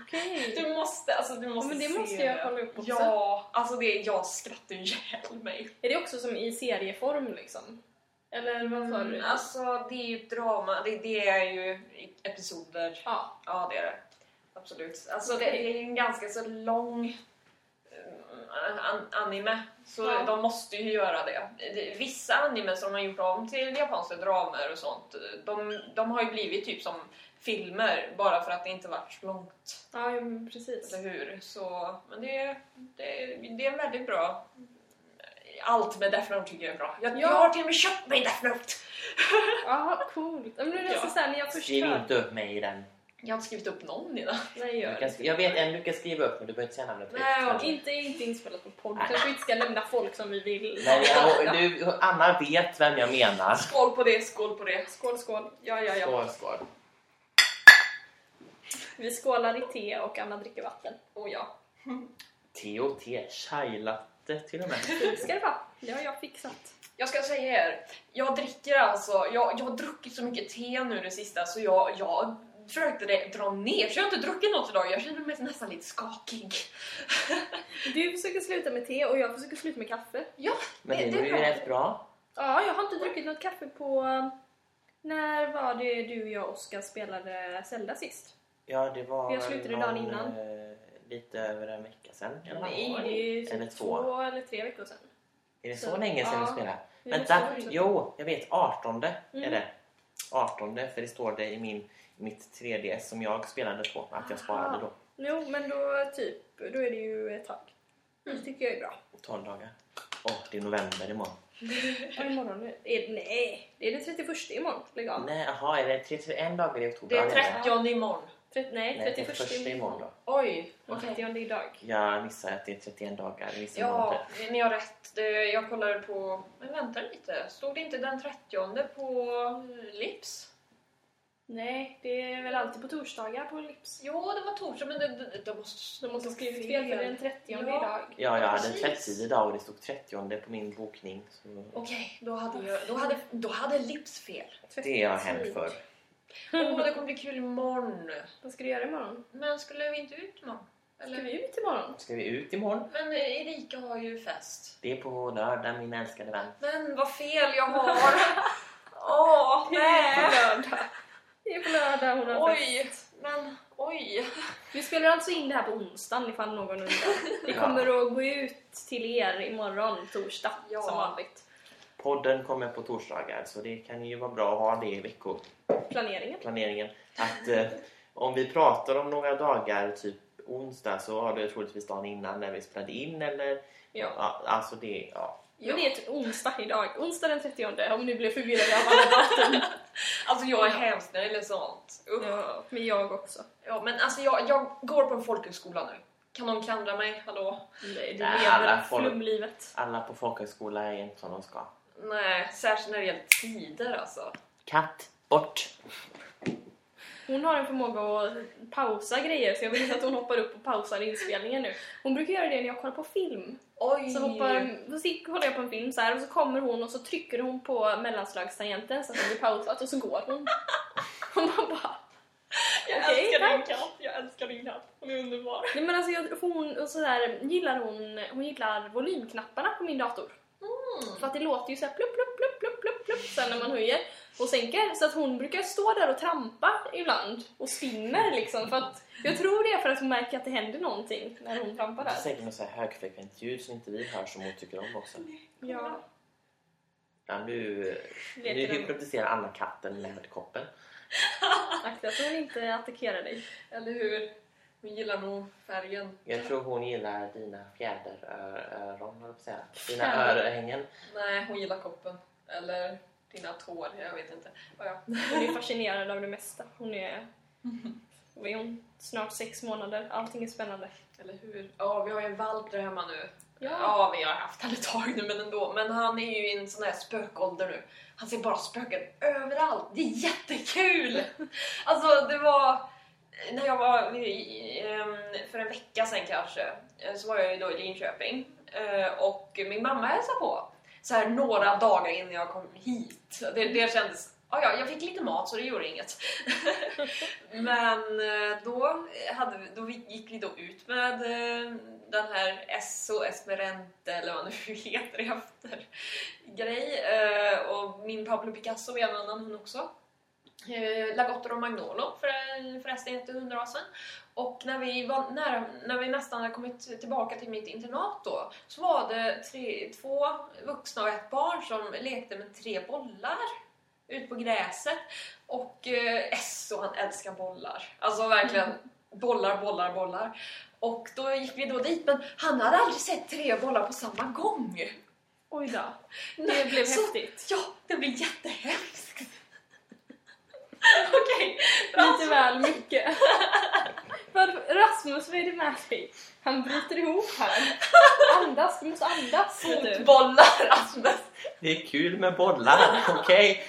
[SPEAKER 2] Okej.
[SPEAKER 3] Du måste, alltså du måste
[SPEAKER 2] men det
[SPEAKER 3] se
[SPEAKER 2] måste jag kolla upp också.
[SPEAKER 3] Ja, alltså det, jag skrattar ju ihjäl mig.
[SPEAKER 2] Är det också som i serieform liksom? Eller vad sa du?
[SPEAKER 3] Mm, alltså det är ju ett drama, det, det är ju episoder
[SPEAKER 2] Ja.
[SPEAKER 3] Ja, det är det. Absolut. Alltså, det,
[SPEAKER 2] Okej.
[SPEAKER 3] det är en ganska så lång eh, an anime, så
[SPEAKER 2] Ja.
[SPEAKER 3] de måste ju göra det. Det- Vissa anime som har gjort om till japanska dramer och sånt, de, de har ju blivit typ som filmer bara för att det inte varit så långt,
[SPEAKER 2] Ja, ja, men precis.
[SPEAKER 3] eller hur? Så, men det, det, det är en väldigt bra... Allt med Death Note tycker jag är bra. Jag,
[SPEAKER 2] Ja.
[SPEAKER 3] jag har till och med köpt mig Death Note!
[SPEAKER 2] Ja, coolt. Ja, Men det alltså är nästan
[SPEAKER 3] Ja.
[SPEAKER 2] såhär när jag först
[SPEAKER 1] Skriv
[SPEAKER 2] hör...
[SPEAKER 1] inte upp mig i den.
[SPEAKER 3] Jag har inte skrivit upp någon i den.
[SPEAKER 2] Nej,
[SPEAKER 1] Du
[SPEAKER 2] gör
[SPEAKER 1] kan,
[SPEAKER 2] det.
[SPEAKER 1] sk- jag vet en du kan skriva upp men du behöver inte säga namnet högt.
[SPEAKER 3] Nej,
[SPEAKER 1] kanske.
[SPEAKER 2] Inte, inte inspelat på podd.
[SPEAKER 1] Nej.
[SPEAKER 2] Kanske vi inte ska nämna folk som vi vill.
[SPEAKER 1] Nej, jag, nu, Anna vet vem jag menar.
[SPEAKER 3] Skål på det, skål på det.
[SPEAKER 2] Skål, skål. Ja, ja, ja.
[SPEAKER 1] Skål, skål.
[SPEAKER 2] Vi skålar i te och Anna dricker vatten.
[SPEAKER 3] Oh ja.
[SPEAKER 1] TOT, chai-latte till och med.
[SPEAKER 2] Ska det vara? Det har jag fixat.
[SPEAKER 3] Jag ska säga er, jag dricker alltså, jag, jag har druckit så mycket te nu det sista så jag, jag försökte det, dra ner så jag har inte druckit något idag. Jag känner mig nästan lite skakig.
[SPEAKER 2] Du försöker sluta med te och jag försöker sluta med kaffe.
[SPEAKER 1] Men det,
[SPEAKER 3] Det- det
[SPEAKER 1] var
[SPEAKER 3] är
[SPEAKER 1] ju
[SPEAKER 3] bra.
[SPEAKER 1] rätt bra.
[SPEAKER 2] Ja, jag har inte druckit något kaffe på... um, När var det du, jag och Oskar spelade Zelda sist?
[SPEAKER 1] Ja, det var
[SPEAKER 2] Jag slutade dagen innan.
[SPEAKER 1] eh, lite över en vecka sedan. eller vad?
[SPEAKER 2] Nej, det är ju typ
[SPEAKER 1] Eller två.
[SPEAKER 2] två. eller tre veckor sedan.
[SPEAKER 1] Är det så,
[SPEAKER 2] Så-
[SPEAKER 1] länge sedan
[SPEAKER 2] ja.
[SPEAKER 1] du spelade?
[SPEAKER 2] Vi
[SPEAKER 1] Vänta,
[SPEAKER 2] måste fortsätta.
[SPEAKER 1] jo, jag vet. 18 är
[SPEAKER 2] Mm.
[SPEAKER 1] det. 18 för det står det i min, mitt 3DS som jag spelade på, att jag sparade då.
[SPEAKER 2] Jo, men då typ, då är det ju ett tag.
[SPEAKER 1] Mm.
[SPEAKER 2] Det tycker jag är bra.
[SPEAKER 1] 12 dagar. Åh, det är november imorgon.
[SPEAKER 2] Och imorgon är är det, nej, det är det 31 imorgon. Lägg av.
[SPEAKER 1] Nej, jaha, är det 31 dagar i oktober?
[SPEAKER 3] Det
[SPEAKER 1] Ja,
[SPEAKER 3] är
[SPEAKER 1] det är det.
[SPEAKER 3] 30 imorgon.
[SPEAKER 2] Tre- nej, 31
[SPEAKER 1] imorgon då.
[SPEAKER 3] Oj,
[SPEAKER 2] Och
[SPEAKER 3] okej.
[SPEAKER 2] 30 idag.
[SPEAKER 1] Jag missar att det är 31 dagar. Jag missar imorgon.
[SPEAKER 3] Ja, ni har rätt. Det- Jag kollade på... Men vänta lite. Stod det inte den 30 på Lips?
[SPEAKER 2] Nej, det är väl alltid på torsdagar på Lips.
[SPEAKER 3] Jo, det var torsdag, men det, det, det måste...
[SPEAKER 2] De måste ha skrivit fel för det är den 30
[SPEAKER 3] Ja.
[SPEAKER 2] idag.
[SPEAKER 1] Ja, jag hade
[SPEAKER 3] Precis.
[SPEAKER 1] 30 idag och det stod 30 på min bokning. Så
[SPEAKER 3] Okej, då hade, jag, då, hade, då hade Lips fel.
[SPEAKER 1] det har hänt förr.
[SPEAKER 3] Åh, det kommer bli kul imorgon.
[SPEAKER 2] Vad ska du göra imorgon?
[SPEAKER 3] Men skulle vi inte ut imorgon?
[SPEAKER 2] Ska
[SPEAKER 3] Eller?
[SPEAKER 2] vi ut imorgon?
[SPEAKER 1] Ska vi ut imorgon?
[SPEAKER 3] Men Erika har ju fest.
[SPEAKER 1] Det är på lördag, min älskade vän.
[SPEAKER 3] Men vad fel jag har! Åh, nej!
[SPEAKER 2] lördag. Det är på lördag hon har fest.
[SPEAKER 3] Oj! Men oj!
[SPEAKER 2] Vi spelar alltså in det här på onsdagen ifall någon undrar. Det kommer att gå ut till er imorgon, torsdag,
[SPEAKER 3] Ja.
[SPEAKER 2] som vanligt.
[SPEAKER 1] Podden kommer på torsdagar så det kan ju vara bra att ha det i veckoplaneringen.
[SPEAKER 2] Planeringen.
[SPEAKER 1] Att eh, om vi pratar om några dagar, typ onsdag, så har det troligtvis dagen innan när vi spelade in eller...
[SPEAKER 2] Ja.
[SPEAKER 1] alltså det, ja.
[SPEAKER 2] Men det är ett onsdag idag. Onsdag den 30 om ni blev förvirrade av alla datum.
[SPEAKER 3] Alltså jag är hemskt när det gäller sånt. Usch.
[SPEAKER 2] Ja, men jag också.
[SPEAKER 3] Ja, men alltså jag, jag går på en folkhögskola nu. Kan någon klandra mig? Hallå?
[SPEAKER 2] Nej, du
[SPEAKER 1] Nej,
[SPEAKER 2] lever
[SPEAKER 1] alla folk-
[SPEAKER 2] flumlivet.
[SPEAKER 1] Alla på folkhögskola är inte som de ska.
[SPEAKER 3] Nej, särskilt när det gäller tider alltså.
[SPEAKER 1] Katt, bort!
[SPEAKER 2] Hon har en förmåga att pausa grejer så jag vill inte att hon hoppar upp och pausar inspelningen nu. Hon brukar göra det när jag kollar på film.
[SPEAKER 3] Oj!
[SPEAKER 2] Så hoppar, då sitter- kollar jag på en film så här och så kommer hon och så trycker hon på mellanslagstangenten så att det blir pausat och så går hon. Och man bara...
[SPEAKER 3] jag
[SPEAKER 2] Okej,
[SPEAKER 3] älskar din
[SPEAKER 2] tack.
[SPEAKER 3] katt, jag älskar din katt. Hon är underbar.
[SPEAKER 2] Nej men alltså jag, hon, och så där, gillar hon, hon gillar volymknapparna på min dator. För att det låter ju såhär plupp, plupp, plupp, plupp, plupp, plupp sen när man höjer och sänker. Så att hon brukar stå där och trampa ibland och spinner liksom. För att, jag tror det är för att hon märker att det händer någonting när hon trampar
[SPEAKER 1] Det är
[SPEAKER 2] där.
[SPEAKER 1] säkert något så här högfrekvent ljud som inte vi hör som hon tycker om också.
[SPEAKER 2] Ja,
[SPEAKER 1] Ja, nu,
[SPEAKER 2] Leker de.
[SPEAKER 1] nu hypnotiserar Anna katten med koppen.
[SPEAKER 2] akta så hon inte attackerar dig.
[SPEAKER 3] Eller hur? Hon gillar nog färgen.
[SPEAKER 1] Jag tror hon gillar dina fjäderöron, höll jag på att säga. Dina
[SPEAKER 2] Fjäder.
[SPEAKER 1] örhängen.
[SPEAKER 3] Nej, hon gillar koppen. Eller dina tår, jag vet inte. Ja, ja.
[SPEAKER 2] Hon är fascinerad av det mesta. Hon är... Vad är hon? Snart sex månader. Allting är spännande.
[SPEAKER 3] Eller hur? Ja, vi har ju en valp där hemma nu.
[SPEAKER 2] Ja.
[SPEAKER 3] Ja, vi har haft han ett tag nu men ändå. Men han är ju i en sån här spökålder nu. Han ser bara spöken överallt. Det är jättekul! Alltså det var... När jag var... i- ehm, För en vecka sedan kanske. eh, Så var jag ju då i Linköping. Eh, Och min mamma hälsade på. Så här några dagar innan jag kom hit. Det, det kändes... Ja, ja, jag fick lite mat så det gjorde inget. Men eh, då, hade, vi- då vi- gick vi då ut med eh, den här Esso Esmerente eller vad nu heter i efter grej. Eh, Och min Pablo Picasso var en annan hon också. Eh, Lagotto och Magnolo för, förresten inte hundra år sedan. Och när vi, var nära, när vi nästan hade kommit tillbaka till mitt internat då så var det tre, två vuxna och ett barn som lekte med tre bollar ut på gräset. Och eh, Esso han älskar bollar. Alltså verkligen bollar, bollar, bollar. Och då gick vi då dit men han hade aldrig sett tre bollar på samma gång.
[SPEAKER 2] Oj då. Det blev
[SPEAKER 3] Så-
[SPEAKER 2] häftigt.
[SPEAKER 3] Ja, det blir jättehemskt. Okej,
[SPEAKER 2] Lite väl mycket. Vad- Rasmus, vad är det med dig? Han bryter ihop här. Andas, du måste andas. vet du.
[SPEAKER 3] fotbollar alltså. Rasmus.
[SPEAKER 1] Det är kul med bollar, okej?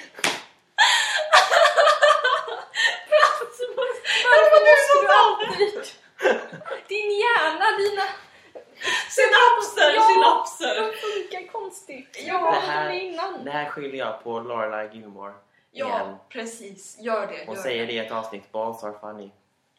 [SPEAKER 2] Rasmus, varför måste du alltid... Din hjärna, dina...
[SPEAKER 3] Synapser,
[SPEAKER 2] Ja.
[SPEAKER 3] synapser.
[SPEAKER 2] De funkar konstigt.
[SPEAKER 3] Ja,
[SPEAKER 2] Jag
[SPEAKER 1] det
[SPEAKER 2] pratade
[SPEAKER 1] här-
[SPEAKER 2] om det innan.
[SPEAKER 1] Det här skyller jag på Laura Gilmore
[SPEAKER 3] Ja,
[SPEAKER 1] igen.
[SPEAKER 3] precis. Gör det.
[SPEAKER 1] Hon
[SPEAKER 3] gör
[SPEAKER 1] säger det i ett avsnitt, Balls are funny.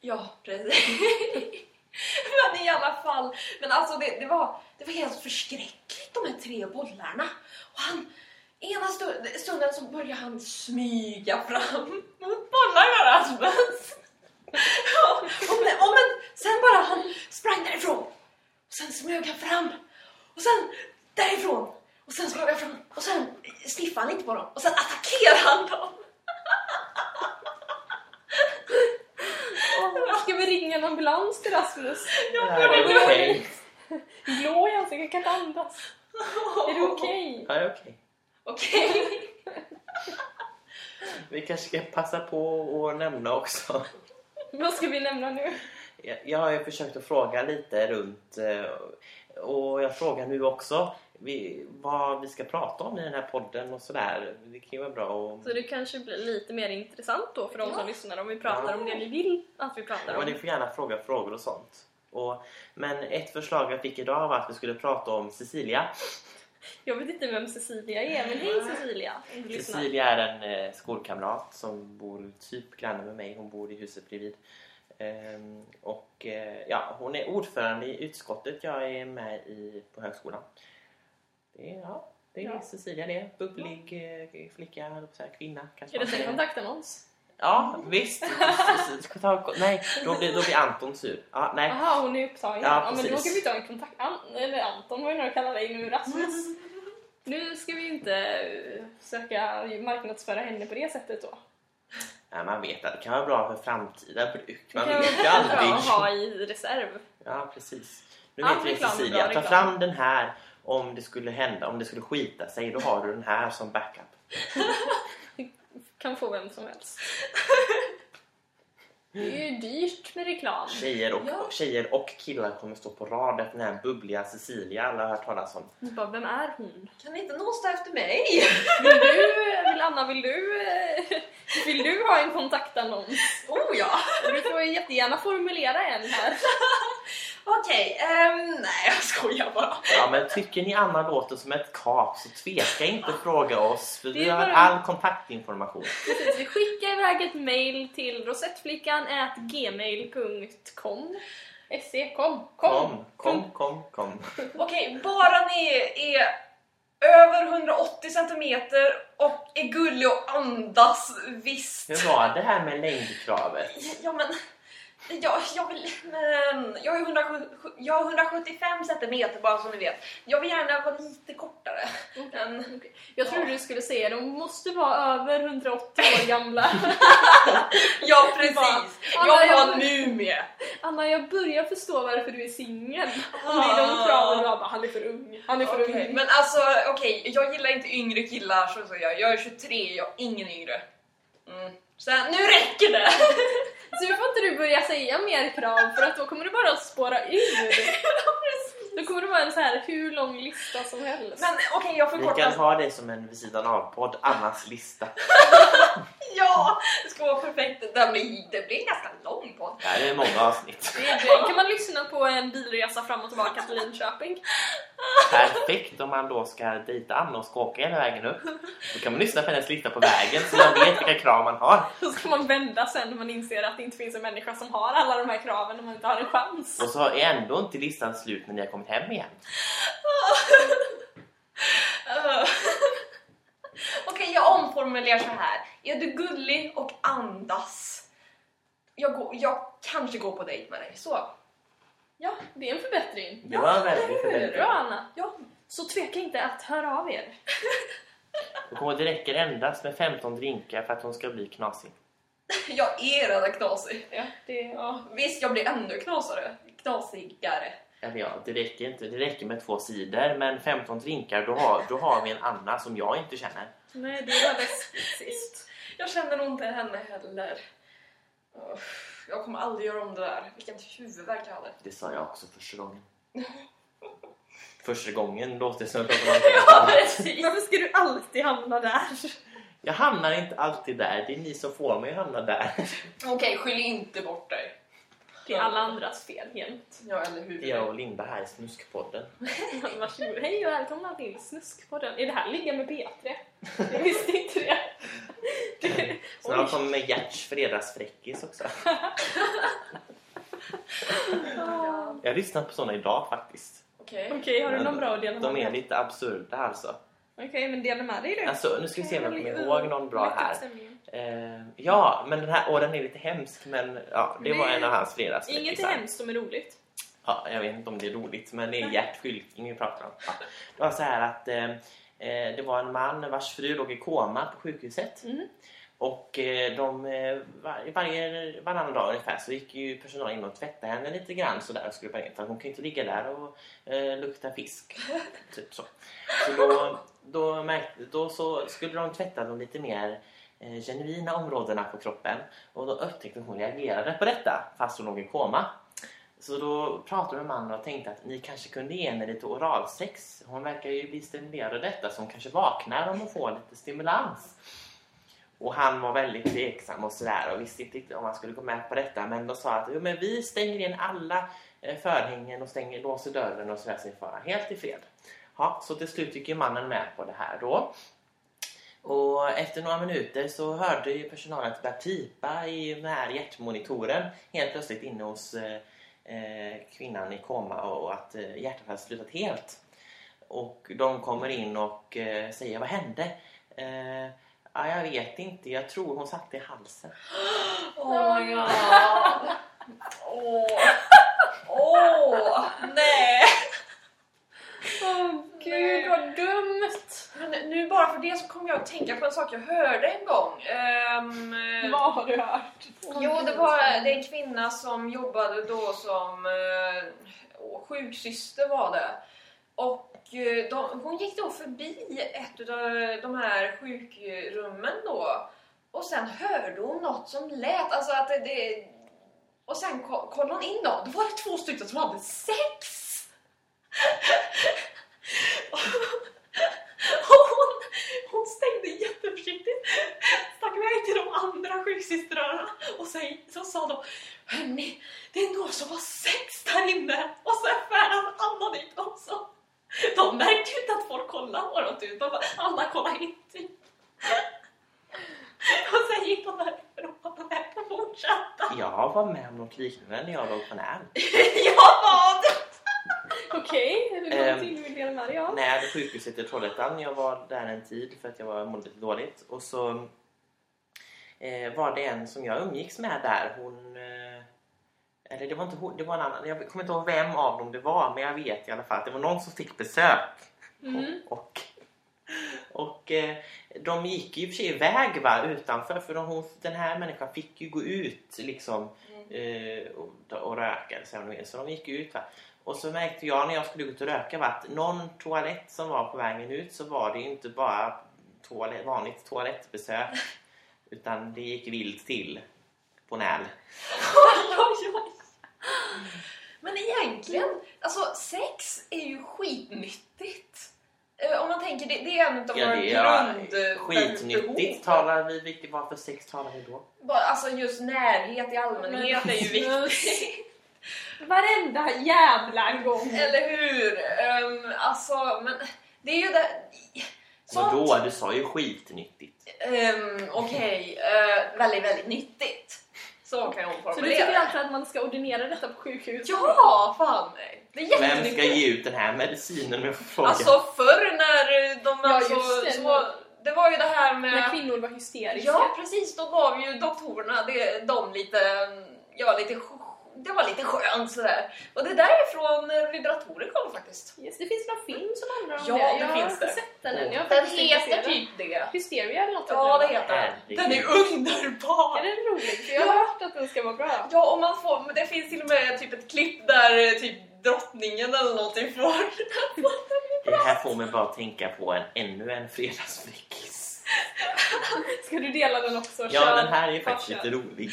[SPEAKER 3] Ja, precis. men i alla fall. Men alltså det, det, var, det var helt förskräckligt de här tre bollarna. Och han, ena stund, stunden så började han smyga fram mot bollarna Rasmus. och, och, men, och men sen bara han sprang därifrån. Och sen smög han fram. Och sen därifrån. Och sen smög han fram. Och sen sniffade han lite på dem. Och sen attackerade han dem.
[SPEAKER 2] Åh, Ska vi ringa en ambulans till Rasmus?
[SPEAKER 1] Det här
[SPEAKER 2] det
[SPEAKER 1] är
[SPEAKER 2] var-
[SPEAKER 1] okej.
[SPEAKER 2] Blå i ansiktet, jag kan inte andas. Är det okej?
[SPEAKER 1] Ja, det är okej.
[SPEAKER 3] Okej.
[SPEAKER 1] Vi kanske ska passa på att nämna också
[SPEAKER 2] Vad ska vi nämna nu?
[SPEAKER 1] Jag, jag har ju försökt att fråga lite runt eh, och jag frågar nu också vi, vad vi ska prata om i den här podden och sådär. Det kan ju vara bra att...
[SPEAKER 2] Så det kanske blir lite mer intressant då för de som
[SPEAKER 3] Ja.
[SPEAKER 2] lyssnar om vi pratar om det vi vill att vi pratar
[SPEAKER 1] Ja, men
[SPEAKER 2] om.
[SPEAKER 1] ni får gärna fråga frågor och sånt. Och, men ett förslag jag fick idag var att vi skulle prata om Cecilia.
[SPEAKER 2] Jag vet inte vem Cecilia är, men hej Cecilia! om du lyssnar.
[SPEAKER 1] Cecilia är en eh, skolkamrat som bor typ granne med mig. Hon bor i huset bredvid. Ehm, och, eh, ja, hon är ordförande i utskottet jag är med i på högskolan. Det är, ja, det är
[SPEAKER 2] Ja.
[SPEAKER 1] Cecilia det. Bubblig eh, flicka, höll jag på att säga, kvinna kanske.
[SPEAKER 2] Är det
[SPEAKER 1] man
[SPEAKER 2] sen
[SPEAKER 1] säger.
[SPEAKER 2] kontaktannons?
[SPEAKER 1] Ja, visst. Ska ta- Nej, då blir, då blir Anton sur. Ja, nej.
[SPEAKER 2] Jaha, hon är upptagen.
[SPEAKER 1] Ja,
[SPEAKER 2] Ja, men då
[SPEAKER 1] precis.
[SPEAKER 2] kan vi ta en kontakt... An- eller Anton var ju när du kallade dig nu, Rasmus. Nu ska vi inte eh, försöka marknadsföra henne på det sättet då.
[SPEAKER 1] Nej, man vet att det kan vara bra för framtida bruk.
[SPEAKER 2] Det
[SPEAKER 1] Man
[SPEAKER 2] kan
[SPEAKER 1] vet ju
[SPEAKER 2] vara bra
[SPEAKER 1] aldrig.
[SPEAKER 2] att ha i reserv.
[SPEAKER 1] Ja, precis. Nu
[SPEAKER 2] Ja,
[SPEAKER 1] vet vi
[SPEAKER 2] reklam är
[SPEAKER 1] Cecilia,
[SPEAKER 2] bra
[SPEAKER 1] ta
[SPEAKER 2] reklam.
[SPEAKER 1] fram den här om det skulle hända, om det skulle skita sig. Då har du den här som backup.
[SPEAKER 2] Kan få vem som helst. Det är ju dyrt med reklam.
[SPEAKER 1] Tjejer och,
[SPEAKER 3] Ja.
[SPEAKER 1] tjejer och killar kommer stå på rad efter den här bubbliga Cecilia alla har hört talas om.
[SPEAKER 2] Bara, vem är hon?
[SPEAKER 3] Kan inte någon stå efter mig?
[SPEAKER 2] Vill du, vill Anna, vill du, eh, vill du ha en kontaktannons?
[SPEAKER 3] Oh ja!
[SPEAKER 2] Du får ju jättegärna formulera en här.
[SPEAKER 3] Okej, ehm, nej jag skojar bara.
[SPEAKER 1] Ja, men tycker ni Anna låter som ett kap så tveka inte att fråga oss för
[SPEAKER 2] Det
[SPEAKER 1] vi
[SPEAKER 2] är
[SPEAKER 1] har
[SPEAKER 2] bara-
[SPEAKER 1] all kontaktinformation.
[SPEAKER 2] Precis, vi skickar iväg ett mail till rosettflickan@gmail.com. SE, E, kom, kom!
[SPEAKER 1] Kom, kom, kom, kom.
[SPEAKER 3] Okej, bara ni är över 180 centimeter och är gullig och andas visst.
[SPEAKER 1] Hur var det här med längdkravet?
[SPEAKER 3] Ja men, jag, jag vill, men jag är 170 jag är 175 centimeter bara som ni vet. Jag vill gärna vara lite kortare. Men,
[SPEAKER 2] Jag trodde du skulle säga de måste vara över 180 år gamla.
[SPEAKER 3] ja precis, jag vill
[SPEAKER 2] jag-
[SPEAKER 3] vara nu med.
[SPEAKER 2] Anna, jag börjar förstå varför du är singel. Om det är
[SPEAKER 3] Ah.
[SPEAKER 2] de kraven du har, bara, han är för ung, han är för
[SPEAKER 3] Okej,
[SPEAKER 2] ung.
[SPEAKER 3] Men alltså okej, jag gillar inte yngre killar så säger jag. Jag är 23, jag är ingen yngre. Mm. Så nu räcker det!
[SPEAKER 2] Så nu får inte du börja säga mer krav för att då kommer du bara spåra ur. Då kommer det vara en så här hur lång lista som helst.
[SPEAKER 3] Men okej, jag
[SPEAKER 1] Vi kan
[SPEAKER 3] förkortar.
[SPEAKER 1] ha det som en vid sidan av-podd, Annas lista.
[SPEAKER 3] Ja, det ska vara perfekt. Det blir, det blir en ganska lång podd.
[SPEAKER 1] Det här är många avsnitt.
[SPEAKER 2] Det är- kan man lyssna på en bilresa fram och tillbaka till Linköping.
[SPEAKER 1] Perfekt om man då ska dejta Anna och ska åka hela vägen upp. Då kan man lyssna på hennes lista på vägen så man vet vilka krav man har.
[SPEAKER 2] Då ska man vända sen när man inser att det inte finns en människa som har alla de här kraven och man inte har en chans.
[SPEAKER 1] Och så är ändå inte listan slut när ni har kommit hem igen.
[SPEAKER 3] Eh, Okej, jag omformulerar så här. Är du gullig och andas? Jag, går, jag kanske går på dejt med dig. Så.
[SPEAKER 2] Ja, det är en förbättring.
[SPEAKER 1] Det var en väldigt
[SPEAKER 2] Bra
[SPEAKER 1] förbättring.
[SPEAKER 2] Anna!
[SPEAKER 3] Ja,
[SPEAKER 2] Så tveka inte att höra av er.
[SPEAKER 1] Och kom ihåg, det räcker endast med 15 drinkar för att hon ska bli knasig.
[SPEAKER 3] jag är redan knasig.
[SPEAKER 2] Ja, det, ja.
[SPEAKER 3] Visst, jag blir ännu knasare. Knasigare.
[SPEAKER 1] Eller ja, det räcker inte. Det räcker med två sidor men 15 drinkar då har, då har vi en Anna som jag inte känner.
[SPEAKER 2] Nej, det var läskigt sist.
[SPEAKER 3] Jag känner nog inte henne heller. Uff, Jag kommer aldrig göra om det där. Vilken huvudvärk jag hade.
[SPEAKER 1] Det sa jag också första gången. Första gången låter det som att jag var med.
[SPEAKER 3] Precis.
[SPEAKER 2] Varför ska du alltid hamna där?
[SPEAKER 1] Jag hamnar inte alltid där. Det är ni som får mig att hamna där.
[SPEAKER 3] Okej, skyll inte bort dig.
[SPEAKER 2] Det är alla andras fel jämt.
[SPEAKER 3] Ja, eller hur?
[SPEAKER 1] Jag och Linda här i Snuskpodden.
[SPEAKER 2] Varsågod. Hej och välkomna till Snuskpodden. Är det här ligga med P3? Jag visste inte det. det
[SPEAKER 1] Snart kommer med Gerts fredagsfräckis också.
[SPEAKER 2] Ah.
[SPEAKER 1] Jag har lyssnat på såna idag faktiskt.
[SPEAKER 3] Okej.
[SPEAKER 2] Okej, har du någon bra att dela
[SPEAKER 1] De
[SPEAKER 2] med
[SPEAKER 1] är
[SPEAKER 2] dig?
[SPEAKER 1] lite absurda alltså.
[SPEAKER 2] Okej, men dela med dig du.
[SPEAKER 1] Alltså, nu ska vi se om jag kommer ihåg någon bra
[SPEAKER 2] Lätt upp
[SPEAKER 1] här.
[SPEAKER 2] stämningen.
[SPEAKER 1] Eh, ja, men den här åh, den är lite hemsk men ja, det var en av hans fredagsfräckisar.
[SPEAKER 2] Inget är hemskt som är roligt.
[SPEAKER 1] Ja, jag vet inte om det är roligt, men det är Gert Fylking vi pratar om. Ja. Det var så här att eh, eh, det var en man vars fru låg i koma på sjukhuset.
[SPEAKER 2] Mm.
[SPEAKER 1] Och eh, de, eh, var, varje, varannan dag ungefär så gick ju personalen in och tvättade henne lite grann sådär och skrubba in. För hon kan ju inte ligga där och eh, lukta fisk. typ så. Så då, då, märkte, då så skulle de tvätta dem lite mer eh, eh, genuina områdena på kroppen och då upptäckte hon reagerade på detta fast hon låg i koma. Så då pratade jag med mannen och tänkte att ni kanske kunde ge henne lite oralsex. Hon verkar ju bli stimulerad av detta så hon kanske vaknar om hon får lite stimulans. Och han var väldigt tveksam och sådär och visste inte riktigt om han skulle gå med på detta men de sa att jo, men vi stänger in alla eh, förhängen och stänger, låser dörren och sådär så ni får vara helt i fred. Ja, så till slut gick ju mannen med på det här då. Och efter några minuter så hörde ju personalen att det började pipa i den här hjärtmonitoren helt plötsligt inne hos eh, eh, kvinnan i koma och att eh, hjärtat hade slutat helt. Och de kommer in och eh, säger vad hände? Eh, ja, jag vet inte, jag tror hon satt i halsen.
[SPEAKER 3] Oh my god. Åh. Åh. Nej.
[SPEAKER 2] Åh gud vad dumt!
[SPEAKER 3] Men nu bara för det så kom jag att tänka på en sak jag hörde en gång. Ehm,
[SPEAKER 2] Vad har du hört?
[SPEAKER 3] Jo, det var det är en kvinna som jobbade då som eh, åh, sjuksyster var det. Och eh, de, hon gick då förbi ett av de här sjukrummen då. Och sen hörde hon något som lät, alltså att det... det och sen ko- kollade hon in dem, då var det två stycken som hade sex! och och hon, hon stängde jätteförsiktigt stack iväg till de andra sjuksystrarna och sen så sa de Hörni, det är några som har sex där inne! Och sen färdas Anna dit också! De märkte ju inte att folk kollade på dem typ, de bara alla kollade in typ. Och sen gick de därifrån och lät dem fortsätta.
[SPEAKER 1] Jag var med om något liknande när jag låg på Närn.
[SPEAKER 3] Jag vad?
[SPEAKER 2] Okej, hur går det
[SPEAKER 1] Ehm,
[SPEAKER 2] till? Du vill dela med dig av?
[SPEAKER 1] när jag hade sjukhuset i Trollhättan. Jag var där en tid för att jag var, mådde lite dåligt. Och så eh, var det en som jag umgicks med där. Hon... Eh, eller det var inte hon, det var en annan. Jag kommer inte ihåg vem av dem det var. Men jag vet i alla fall att det var någon som fick besök.
[SPEAKER 2] Mm.
[SPEAKER 1] Och, och eh, de gick ju i och för sig iväg va, utanför för de, hon- den här människan fick ju gå ut liksom eh, och, och röka. eller Så, här vad det är. så de gick ju ut. Va. Och så märkte jag när jag skulle gå ut och röka va, att någon toalett som var på vägen ut så var det ju inte bara toalett, vanligt toalettbesök utan det gick vilt till på Näl.
[SPEAKER 3] Oj, oj, oj. Men egentligen, alltså sex är ju skitnyttigt. Eh, Om man tänker, det, det är en av
[SPEAKER 1] Ja,
[SPEAKER 3] våra
[SPEAKER 1] det är
[SPEAKER 3] grund...
[SPEAKER 1] skitnyttigt. Talar vi, vilket, vad för sex talar vi då?
[SPEAKER 3] Bara, alltså just närhet i allmänhet är ju viktigt.
[SPEAKER 2] Snusk. Varenda jävla gång!
[SPEAKER 3] Eller hur? Um, alltså, men det är ju det...
[SPEAKER 1] Vadå? Du sa ju skitnyttigt.
[SPEAKER 3] Ehm, Okej, eh, väldigt, väldigt nyttigt. Så kan jag
[SPEAKER 2] Så du tycker
[SPEAKER 3] omformulera.
[SPEAKER 2] alltså att man ska ordinera detta på sjukhus?
[SPEAKER 3] Ja, fan nej. Det är
[SPEAKER 1] Vem
[SPEAKER 3] jättenyttigt.
[SPEAKER 1] ska ge ut den här medicinen med frågan?
[SPEAKER 3] Alltså förr när eh, de...
[SPEAKER 2] Ja,
[SPEAKER 3] alltså,
[SPEAKER 2] just det.
[SPEAKER 3] Så, det var ju det här
[SPEAKER 2] När
[SPEAKER 3] med...
[SPEAKER 2] kvinnor var hysteriska?
[SPEAKER 3] Ja, precis. Då gav ju doktorerna det, de lite... Ja, lite... sk- Det var lite skönt sådär. Och det är därifrån eh, vibratorer kom faktiskt.
[SPEAKER 2] Yes, det finns någon film som handlar om
[SPEAKER 3] Ja,
[SPEAKER 2] det.
[SPEAKER 3] det
[SPEAKER 2] Jag
[SPEAKER 3] finns
[SPEAKER 2] har
[SPEAKER 3] det.
[SPEAKER 2] inte sett den än. Jag har
[SPEAKER 3] Den
[SPEAKER 2] faktiskt inte
[SPEAKER 3] heter
[SPEAKER 2] sett den.
[SPEAKER 3] typ det.
[SPEAKER 2] Hysteria eller något
[SPEAKER 3] Ja, det
[SPEAKER 2] heter
[SPEAKER 3] heter
[SPEAKER 1] Herregud.
[SPEAKER 3] den. Den är underbar!
[SPEAKER 2] Är den rolig? För jag har hört att den ska vara bra.
[SPEAKER 3] Ja, och man får, men det finns till och med typ ett klipp där eh, typ drottningen eller någonting får...
[SPEAKER 1] Det här får mig bara att tänka på en, ännu en fredagsfräckis.
[SPEAKER 2] Ska du dela den också?
[SPEAKER 1] Ja,
[SPEAKER 2] Kör.
[SPEAKER 1] den här är ju faktiskt
[SPEAKER 2] Kör.
[SPEAKER 1] lite rolig.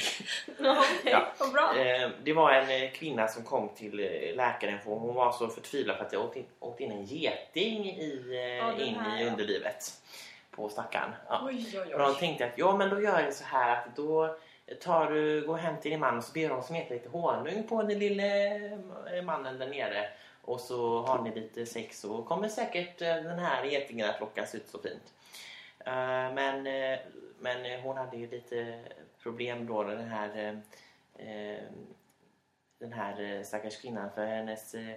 [SPEAKER 2] Ja, okej.
[SPEAKER 1] Ja.
[SPEAKER 2] Vad bra.
[SPEAKER 1] Eh, Det var en eh, kvinna som kom till eh, läkaren för hon var så förtvivlad för att jag åt in, åt in en geting i, eh,
[SPEAKER 2] Ja, den
[SPEAKER 1] in
[SPEAKER 2] här,
[SPEAKER 1] i
[SPEAKER 2] ja.
[SPEAKER 1] underlivet på stackaren. Ja.
[SPEAKER 3] Oj, oj,
[SPEAKER 1] Och de
[SPEAKER 3] oj.
[SPEAKER 1] tänkte att ja, men då gör jag så här att då tar du, går hem till din man och så ber du honom smeka lite honung på den lille eh, mannen där nere. Och så har ni lite sex och kommer säkert eh, den här getingen att lockas ut så fint. Eh, Men, eh, men eh, hon hade ju lite problem då den här eh, eh, den här eh, stackars kvinnan för hennes eh,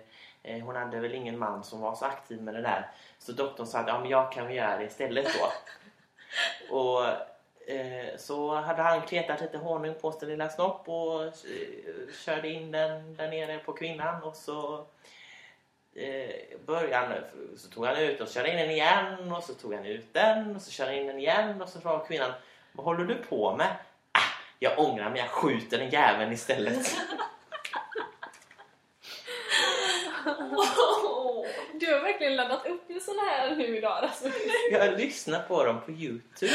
[SPEAKER 1] eh, hon hade väl ingen man som var så aktiv med det där. Så doktorn sa att ja, men jag kan väl göra det istället då. Och eh, så hade han kletat lite honung på sin lilla snopp och eh, körde in den där nere på kvinnan och så eh, började han, så tog han ut och körde in den igen och så tog han ut den och så körde han in den igen och så frågade kvinnan Vad håller du på med? Ah, jag ångrar mig, jag skjuter den jäveln istället.
[SPEAKER 3] Åh.
[SPEAKER 2] Du har verkligen laddat alltså. upp med såna här nu idag. Rasmus.
[SPEAKER 1] Jag lyssnar på dem på Youtube.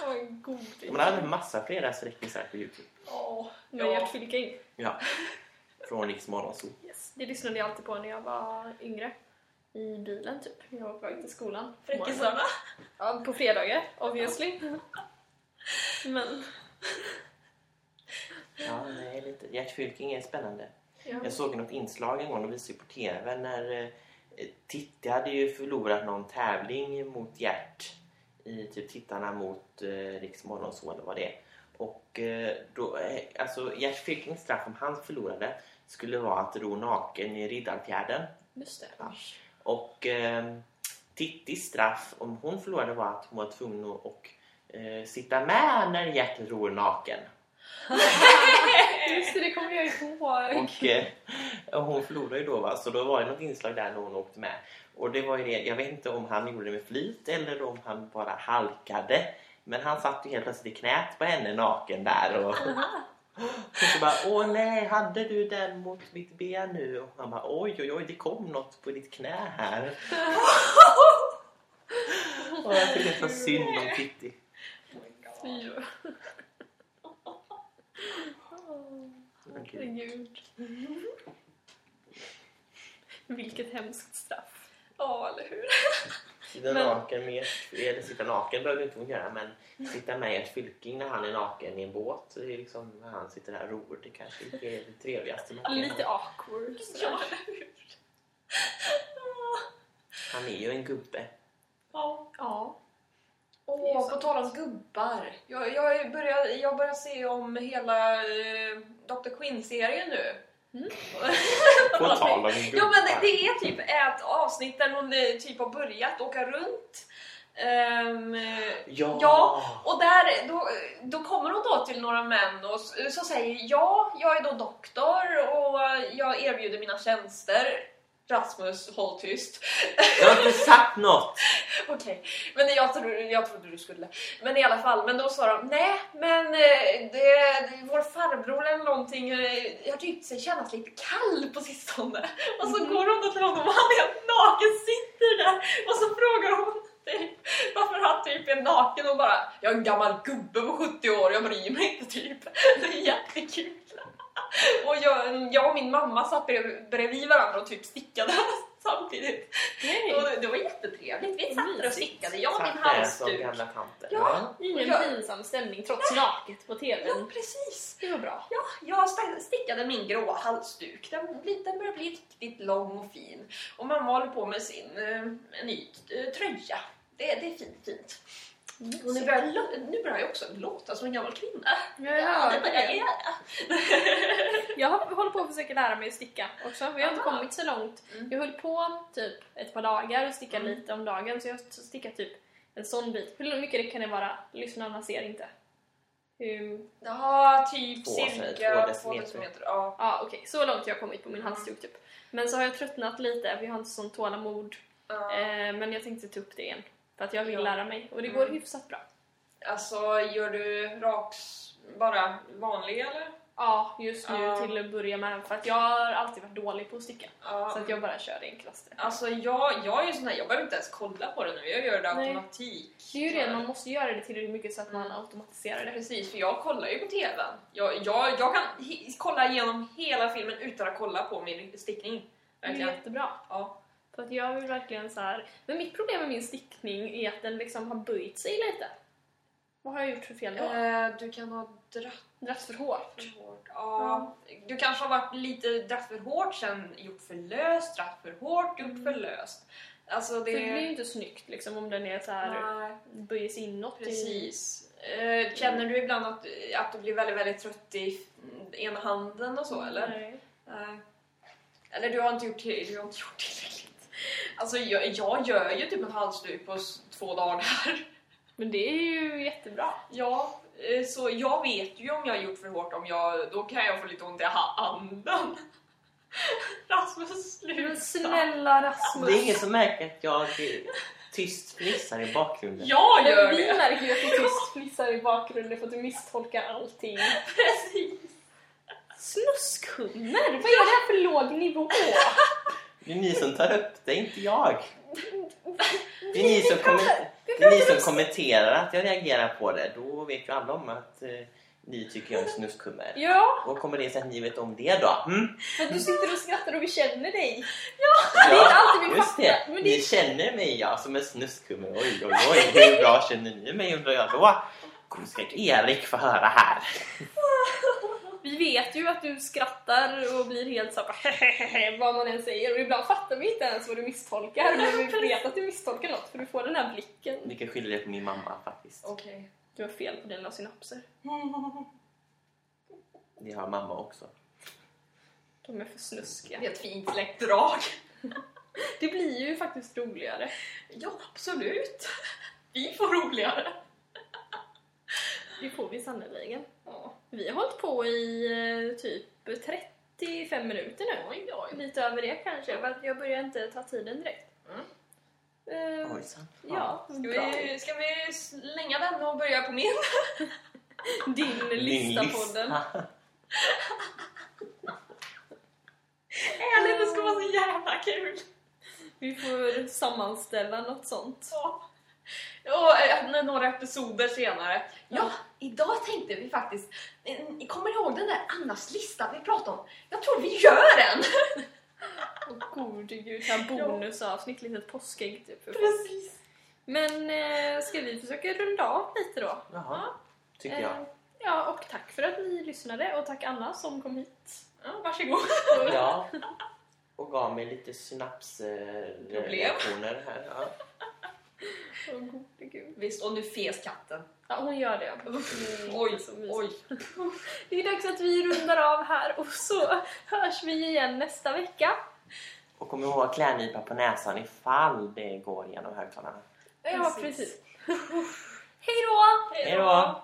[SPEAKER 3] Det var en godis.
[SPEAKER 1] Man hade en massa flera sträckisar på Youtube.
[SPEAKER 3] Åh,
[SPEAKER 2] Med
[SPEAKER 3] Ja.
[SPEAKER 2] Gert Fylking.
[SPEAKER 1] Ja. Från Riks Morgonzoo.
[SPEAKER 2] Yes. Det lyssnade jag alltid på när jag var yngre. I bilen typ. Jag var på väg till skolan. på morgonen.
[SPEAKER 3] Fräckisarna.
[SPEAKER 2] Ja, på fredagar obviously. Men
[SPEAKER 1] Ja, nej, lite. Gert Fylking är spännande.
[SPEAKER 3] Ja.
[SPEAKER 1] Jag såg något inslag en gång, de visade ju på TV när eh, Titti hade ju förlorat någon tävling mot Gert i typ tittarna mot eh, Riks Morgonzoo eller vad det är. Och eh, då, eh, alltså Gert Fylkings straff om han förlorade skulle vara att ro naken i Riddarfjärden.
[SPEAKER 2] just det.
[SPEAKER 1] Ja. Och eh, Tittis straff om hon förlorade var att hon var tvungen att och, eh, sitta med när Gert ror naken.
[SPEAKER 2] Just det, det kommer jag ihåg.
[SPEAKER 1] Och eh, hon förlorade ju då va, så då var det något inslag där när hon åkte med. Och det var ju det, jag vet inte om han gjorde det med flit eller om han bara halkade. Men han satt ju helt plötsligt i knät på henne naken där. Och, och så bara, åh nej, hade du den mot mitt ben nu? Och han bara, oj oj oj, det kom något på ditt knä här. och jag tyckte det var synd om Titti.
[SPEAKER 2] Fy.
[SPEAKER 1] Okej.
[SPEAKER 2] Herregud. Vilket hemskt straff.
[SPEAKER 3] Ja, eller hur?
[SPEAKER 1] Sitta
[SPEAKER 2] Men-
[SPEAKER 1] naken med eller sitta naken behöver inte hon göra men sitta med Gert Fylking när han är naken i en båt det är liksom när han sitter där och ror det kanske inte är det trevligaste man kan
[SPEAKER 2] Lite
[SPEAKER 1] göra.
[SPEAKER 2] awkward.
[SPEAKER 3] Ja,
[SPEAKER 2] sådär.
[SPEAKER 3] eller hur?
[SPEAKER 1] Han är ju en gubbe.
[SPEAKER 3] Ja.
[SPEAKER 2] Ja. Det är
[SPEAKER 3] Åh,
[SPEAKER 2] sant.
[SPEAKER 3] på tal om gubbar. Jag, jag, börjar, jag börjar se om hela eh, Dr. Quinn-serien nu.
[SPEAKER 2] Mm.
[SPEAKER 1] På tal om gubbar.
[SPEAKER 3] Ja men det är typ ett avsnitt där hon eh, typ har börjat åka runt. Ehm, eh,
[SPEAKER 1] Ja!
[SPEAKER 3] Ja. och där, då, då kommer hon då till några män och s- så säger ja, jag är då doktor och jag erbjuder mina tjänster. Rasmus, håll tyst.
[SPEAKER 1] Jag har inte sagt något!
[SPEAKER 3] Okej, men jag trodde, jag trodde du skulle. Men i alla fall, men då sa de nej, men eh, det, det, vår farbror eller någonting eh, har tyckt sig kännas lite kall på sistone. Och så
[SPEAKER 2] Mhm.
[SPEAKER 3] går hon då till honom och han helt naken sitter där och så frågar hon typ varför han typ är naken och bara jag är en gammal gubbe på 70 år, jag bryr mig inte typ. Det är jättekul. Och jag, jag och min mamma satt brev, bredvid varandra och typ stickade samtidigt.
[SPEAKER 2] Nej.
[SPEAKER 3] Och det var jättetrevligt. Vi satt där och
[SPEAKER 2] Mysigt.
[SPEAKER 3] stickade. Jag och min
[SPEAKER 1] Satt där som
[SPEAKER 3] halsduk.
[SPEAKER 1] gamla tanter.
[SPEAKER 3] Ja.
[SPEAKER 2] Ingen
[SPEAKER 3] Jag-
[SPEAKER 2] pinsam stämning trots naket på
[SPEAKER 3] Ja,
[SPEAKER 2] tvn.
[SPEAKER 3] precis.
[SPEAKER 2] Det var bra.
[SPEAKER 3] Ja, jag sta- stickade min gråa halsduk. Den, blir- den börjar bli riktigt lång och fin. Och mamma håller på med sin eh, ny eh, tröja. Det, det är fint, fint. Och nu börjar, jag lo- nu börjar jag också låta som en gammal kvinna.
[SPEAKER 2] Jag, hörde
[SPEAKER 3] det börjar jag
[SPEAKER 2] det.
[SPEAKER 3] göra.
[SPEAKER 2] jag har- håller på att försöka lära mig att sticka också. Vi har inte
[SPEAKER 3] Aha.
[SPEAKER 2] kommit så långt.
[SPEAKER 3] Mm.
[SPEAKER 2] Jag höll på typ ett par dagar och stickade
[SPEAKER 3] Mm.
[SPEAKER 2] lite om dagen så jag stickar typ en sån bit. Hur mycket det kan det vara? Lyssnarna ser inte. Hur...
[SPEAKER 3] Ja, typ
[SPEAKER 1] Två,
[SPEAKER 3] cirka
[SPEAKER 1] två
[SPEAKER 3] två
[SPEAKER 1] decimeter.
[SPEAKER 3] decimeter. Ja.
[SPEAKER 2] Ja okej, så långt har jag kommit på min halsduk typ. Men så har jag tröttnat lite, vi har inte sån tålamod.
[SPEAKER 3] Ja.
[SPEAKER 2] Eh, men jag tänkte ta upp det igen. För att jag vill
[SPEAKER 3] Ja.
[SPEAKER 2] lära mig och det går
[SPEAKER 3] Mm.
[SPEAKER 2] hyfsat bra.
[SPEAKER 3] Alltså, gör du raks bara vanlig eller?
[SPEAKER 2] Ja, just nu
[SPEAKER 3] Ja.
[SPEAKER 2] till att börja med. För att jag har alltid varit dålig på att sticka.
[SPEAKER 3] Ja.
[SPEAKER 2] Så att jag bara kör det enklaste.
[SPEAKER 3] Alltså jag, jag är ju sån här, jag behöver inte ens kolla på det nu, jag gör det
[SPEAKER 2] Nej.
[SPEAKER 3] automatik.
[SPEAKER 2] Det är ju det, man måste göra det tillräckligt mycket så att man automatiserar det.
[SPEAKER 3] Precis, för jag kollar ju på TVn. Jag, jag, jag kan hi- kolla igenom hela filmen utan att kolla på min stickning.
[SPEAKER 2] Det är
[SPEAKER 3] Verkligen.
[SPEAKER 2] jättebra.
[SPEAKER 3] Ja.
[SPEAKER 2] För att jag vill verkligen så här. Men mitt problem med min stickning är att den liksom har böjt sig lite. Vad har jag gjort för fel då?
[SPEAKER 3] Eh, du kan ha dratt
[SPEAKER 2] Dratt för hårt.
[SPEAKER 3] för hårt. Ja. Du kanske har varit lite dratt för hårt, sen gjort för löst, dratt för hårt, gjort
[SPEAKER 2] Mm.
[SPEAKER 3] för löst. Alltså
[SPEAKER 2] För det blir ju
[SPEAKER 3] det...
[SPEAKER 2] inte snyggt liksom om den är så här
[SPEAKER 3] Nej,
[SPEAKER 2] böjer sig inåt. i-
[SPEAKER 3] precis. Eh, känner du ibland att, att du blir väldigt, väldigt trött i mm, ena handen och så eller?
[SPEAKER 2] Nej.
[SPEAKER 3] Nej. Eller du har inte gjort, till- du har inte gjort tillräckligt. Alltså jag, jag gör ju typ en halsduk på s- två dagar.
[SPEAKER 2] Men det är ju jättebra.
[SPEAKER 3] Ja, eh, så jag vet ju om jag har gjort för hårt, om jag, då kan jag få lite ont i ha- handen. Rasmus,
[SPEAKER 2] Men
[SPEAKER 3] sluta!
[SPEAKER 2] snälla
[SPEAKER 1] Det är
[SPEAKER 2] Rasmus.
[SPEAKER 1] ingen som märker att jag tyst fnissar i bakgrunden.
[SPEAKER 3] Jag gör
[SPEAKER 2] vi
[SPEAKER 3] det!
[SPEAKER 2] märker ju att du tyst fnissar i bakgrunden för att du misstolkar allting.
[SPEAKER 3] Precis!
[SPEAKER 2] Snuskhunder? Vad är det här för låg nivå?
[SPEAKER 1] Det är ni som tar upp det, inte jag. Det är ni som kommer...
[SPEAKER 2] Vi
[SPEAKER 1] Det är ni som kommenterar att jag reagerar på det. Då vet ju alla om att eh, ni tycker jag är en snuskummer.
[SPEAKER 2] Ja,
[SPEAKER 1] Och kommer det sig att ni vet om det då? Mm?
[SPEAKER 2] för att du sitter och skrattar och vi känner dig. Det är inte
[SPEAKER 1] Ja,
[SPEAKER 2] alltid vi
[SPEAKER 1] just det.
[SPEAKER 2] fattar. Men det
[SPEAKER 1] Ni
[SPEAKER 2] är...
[SPEAKER 1] känner mig ja, som en snuskummer. Oj, oj, oj. Hur bra känner ni mig undrar jag då? Godskräck Erik får höra här.
[SPEAKER 2] Vi vet ju att du skrattar och blir helt såhär vad man än säger och ibland fattar vi inte ens vad du misstolkar men vi vet att du misstolkar något för du får den här blicken.
[SPEAKER 1] Vilken skillnad på min mamma faktiskt.
[SPEAKER 3] Okej.
[SPEAKER 2] Du har fel på dina synapser.
[SPEAKER 1] Det har mamma också.
[SPEAKER 2] De är för snuskiga.
[SPEAKER 3] Det är ett fint släktdrag.
[SPEAKER 2] Det blir ju faktiskt roligare.
[SPEAKER 3] Ja, absolut. Vi får roligare.
[SPEAKER 2] Det får vi sannerligen.
[SPEAKER 3] Ja.
[SPEAKER 2] Vi har hållit på i eh, typ 35 minuter nu. Oj, oj. Lite över det kanske. för att Jag börjar inte ta tiden direkt.
[SPEAKER 3] Mm.
[SPEAKER 2] Eh,
[SPEAKER 1] Ojsan.
[SPEAKER 2] ja,
[SPEAKER 3] Ska,
[SPEAKER 2] bra.
[SPEAKER 3] vi, ska vi slänga den och börja på min?
[SPEAKER 2] Din
[SPEAKER 1] Din
[SPEAKER 2] lista-podden.
[SPEAKER 1] lista.
[SPEAKER 3] Ärligt, det ska vara så jävla kul.
[SPEAKER 2] Vi får sammanställa något sånt.
[SPEAKER 3] Så. Och eh, några episoder senare.
[SPEAKER 2] Ja.
[SPEAKER 3] Ja, idag tänkte vi faktiskt... eh, ni Kommer ni ihåg den där Annas lista vi pratade om? Jag tror vi gör en!
[SPEAKER 2] Och gode gud, så här bonusavsnitt, litet påskägg typ.
[SPEAKER 3] Precis.
[SPEAKER 2] Men eh, ska vi försöka runda av lite då?
[SPEAKER 1] Jaha, tycker jag.
[SPEAKER 2] Eh, ja, och tack för att ni lyssnade och tack Anna som kom hit.
[SPEAKER 3] Ja, varsågod.
[SPEAKER 1] Ja. Och gav mig lite synapsreaktioner här. Ja.
[SPEAKER 2] Åh gode gud. Mm,
[SPEAKER 3] Visst, och nu fes katten.
[SPEAKER 2] Ja, hon gör det.
[SPEAKER 3] Oj,
[SPEAKER 2] så mysigt.
[SPEAKER 3] oj.
[SPEAKER 2] Det är dags att vi rundar av här och så hörs vi igen nästa vecka.
[SPEAKER 1] Och kom ihåg att klädnypa på näsan ifall det går genom högtalarna.
[SPEAKER 2] Ja,
[SPEAKER 3] Precis.
[SPEAKER 2] precis. Hej då!
[SPEAKER 1] Hej då!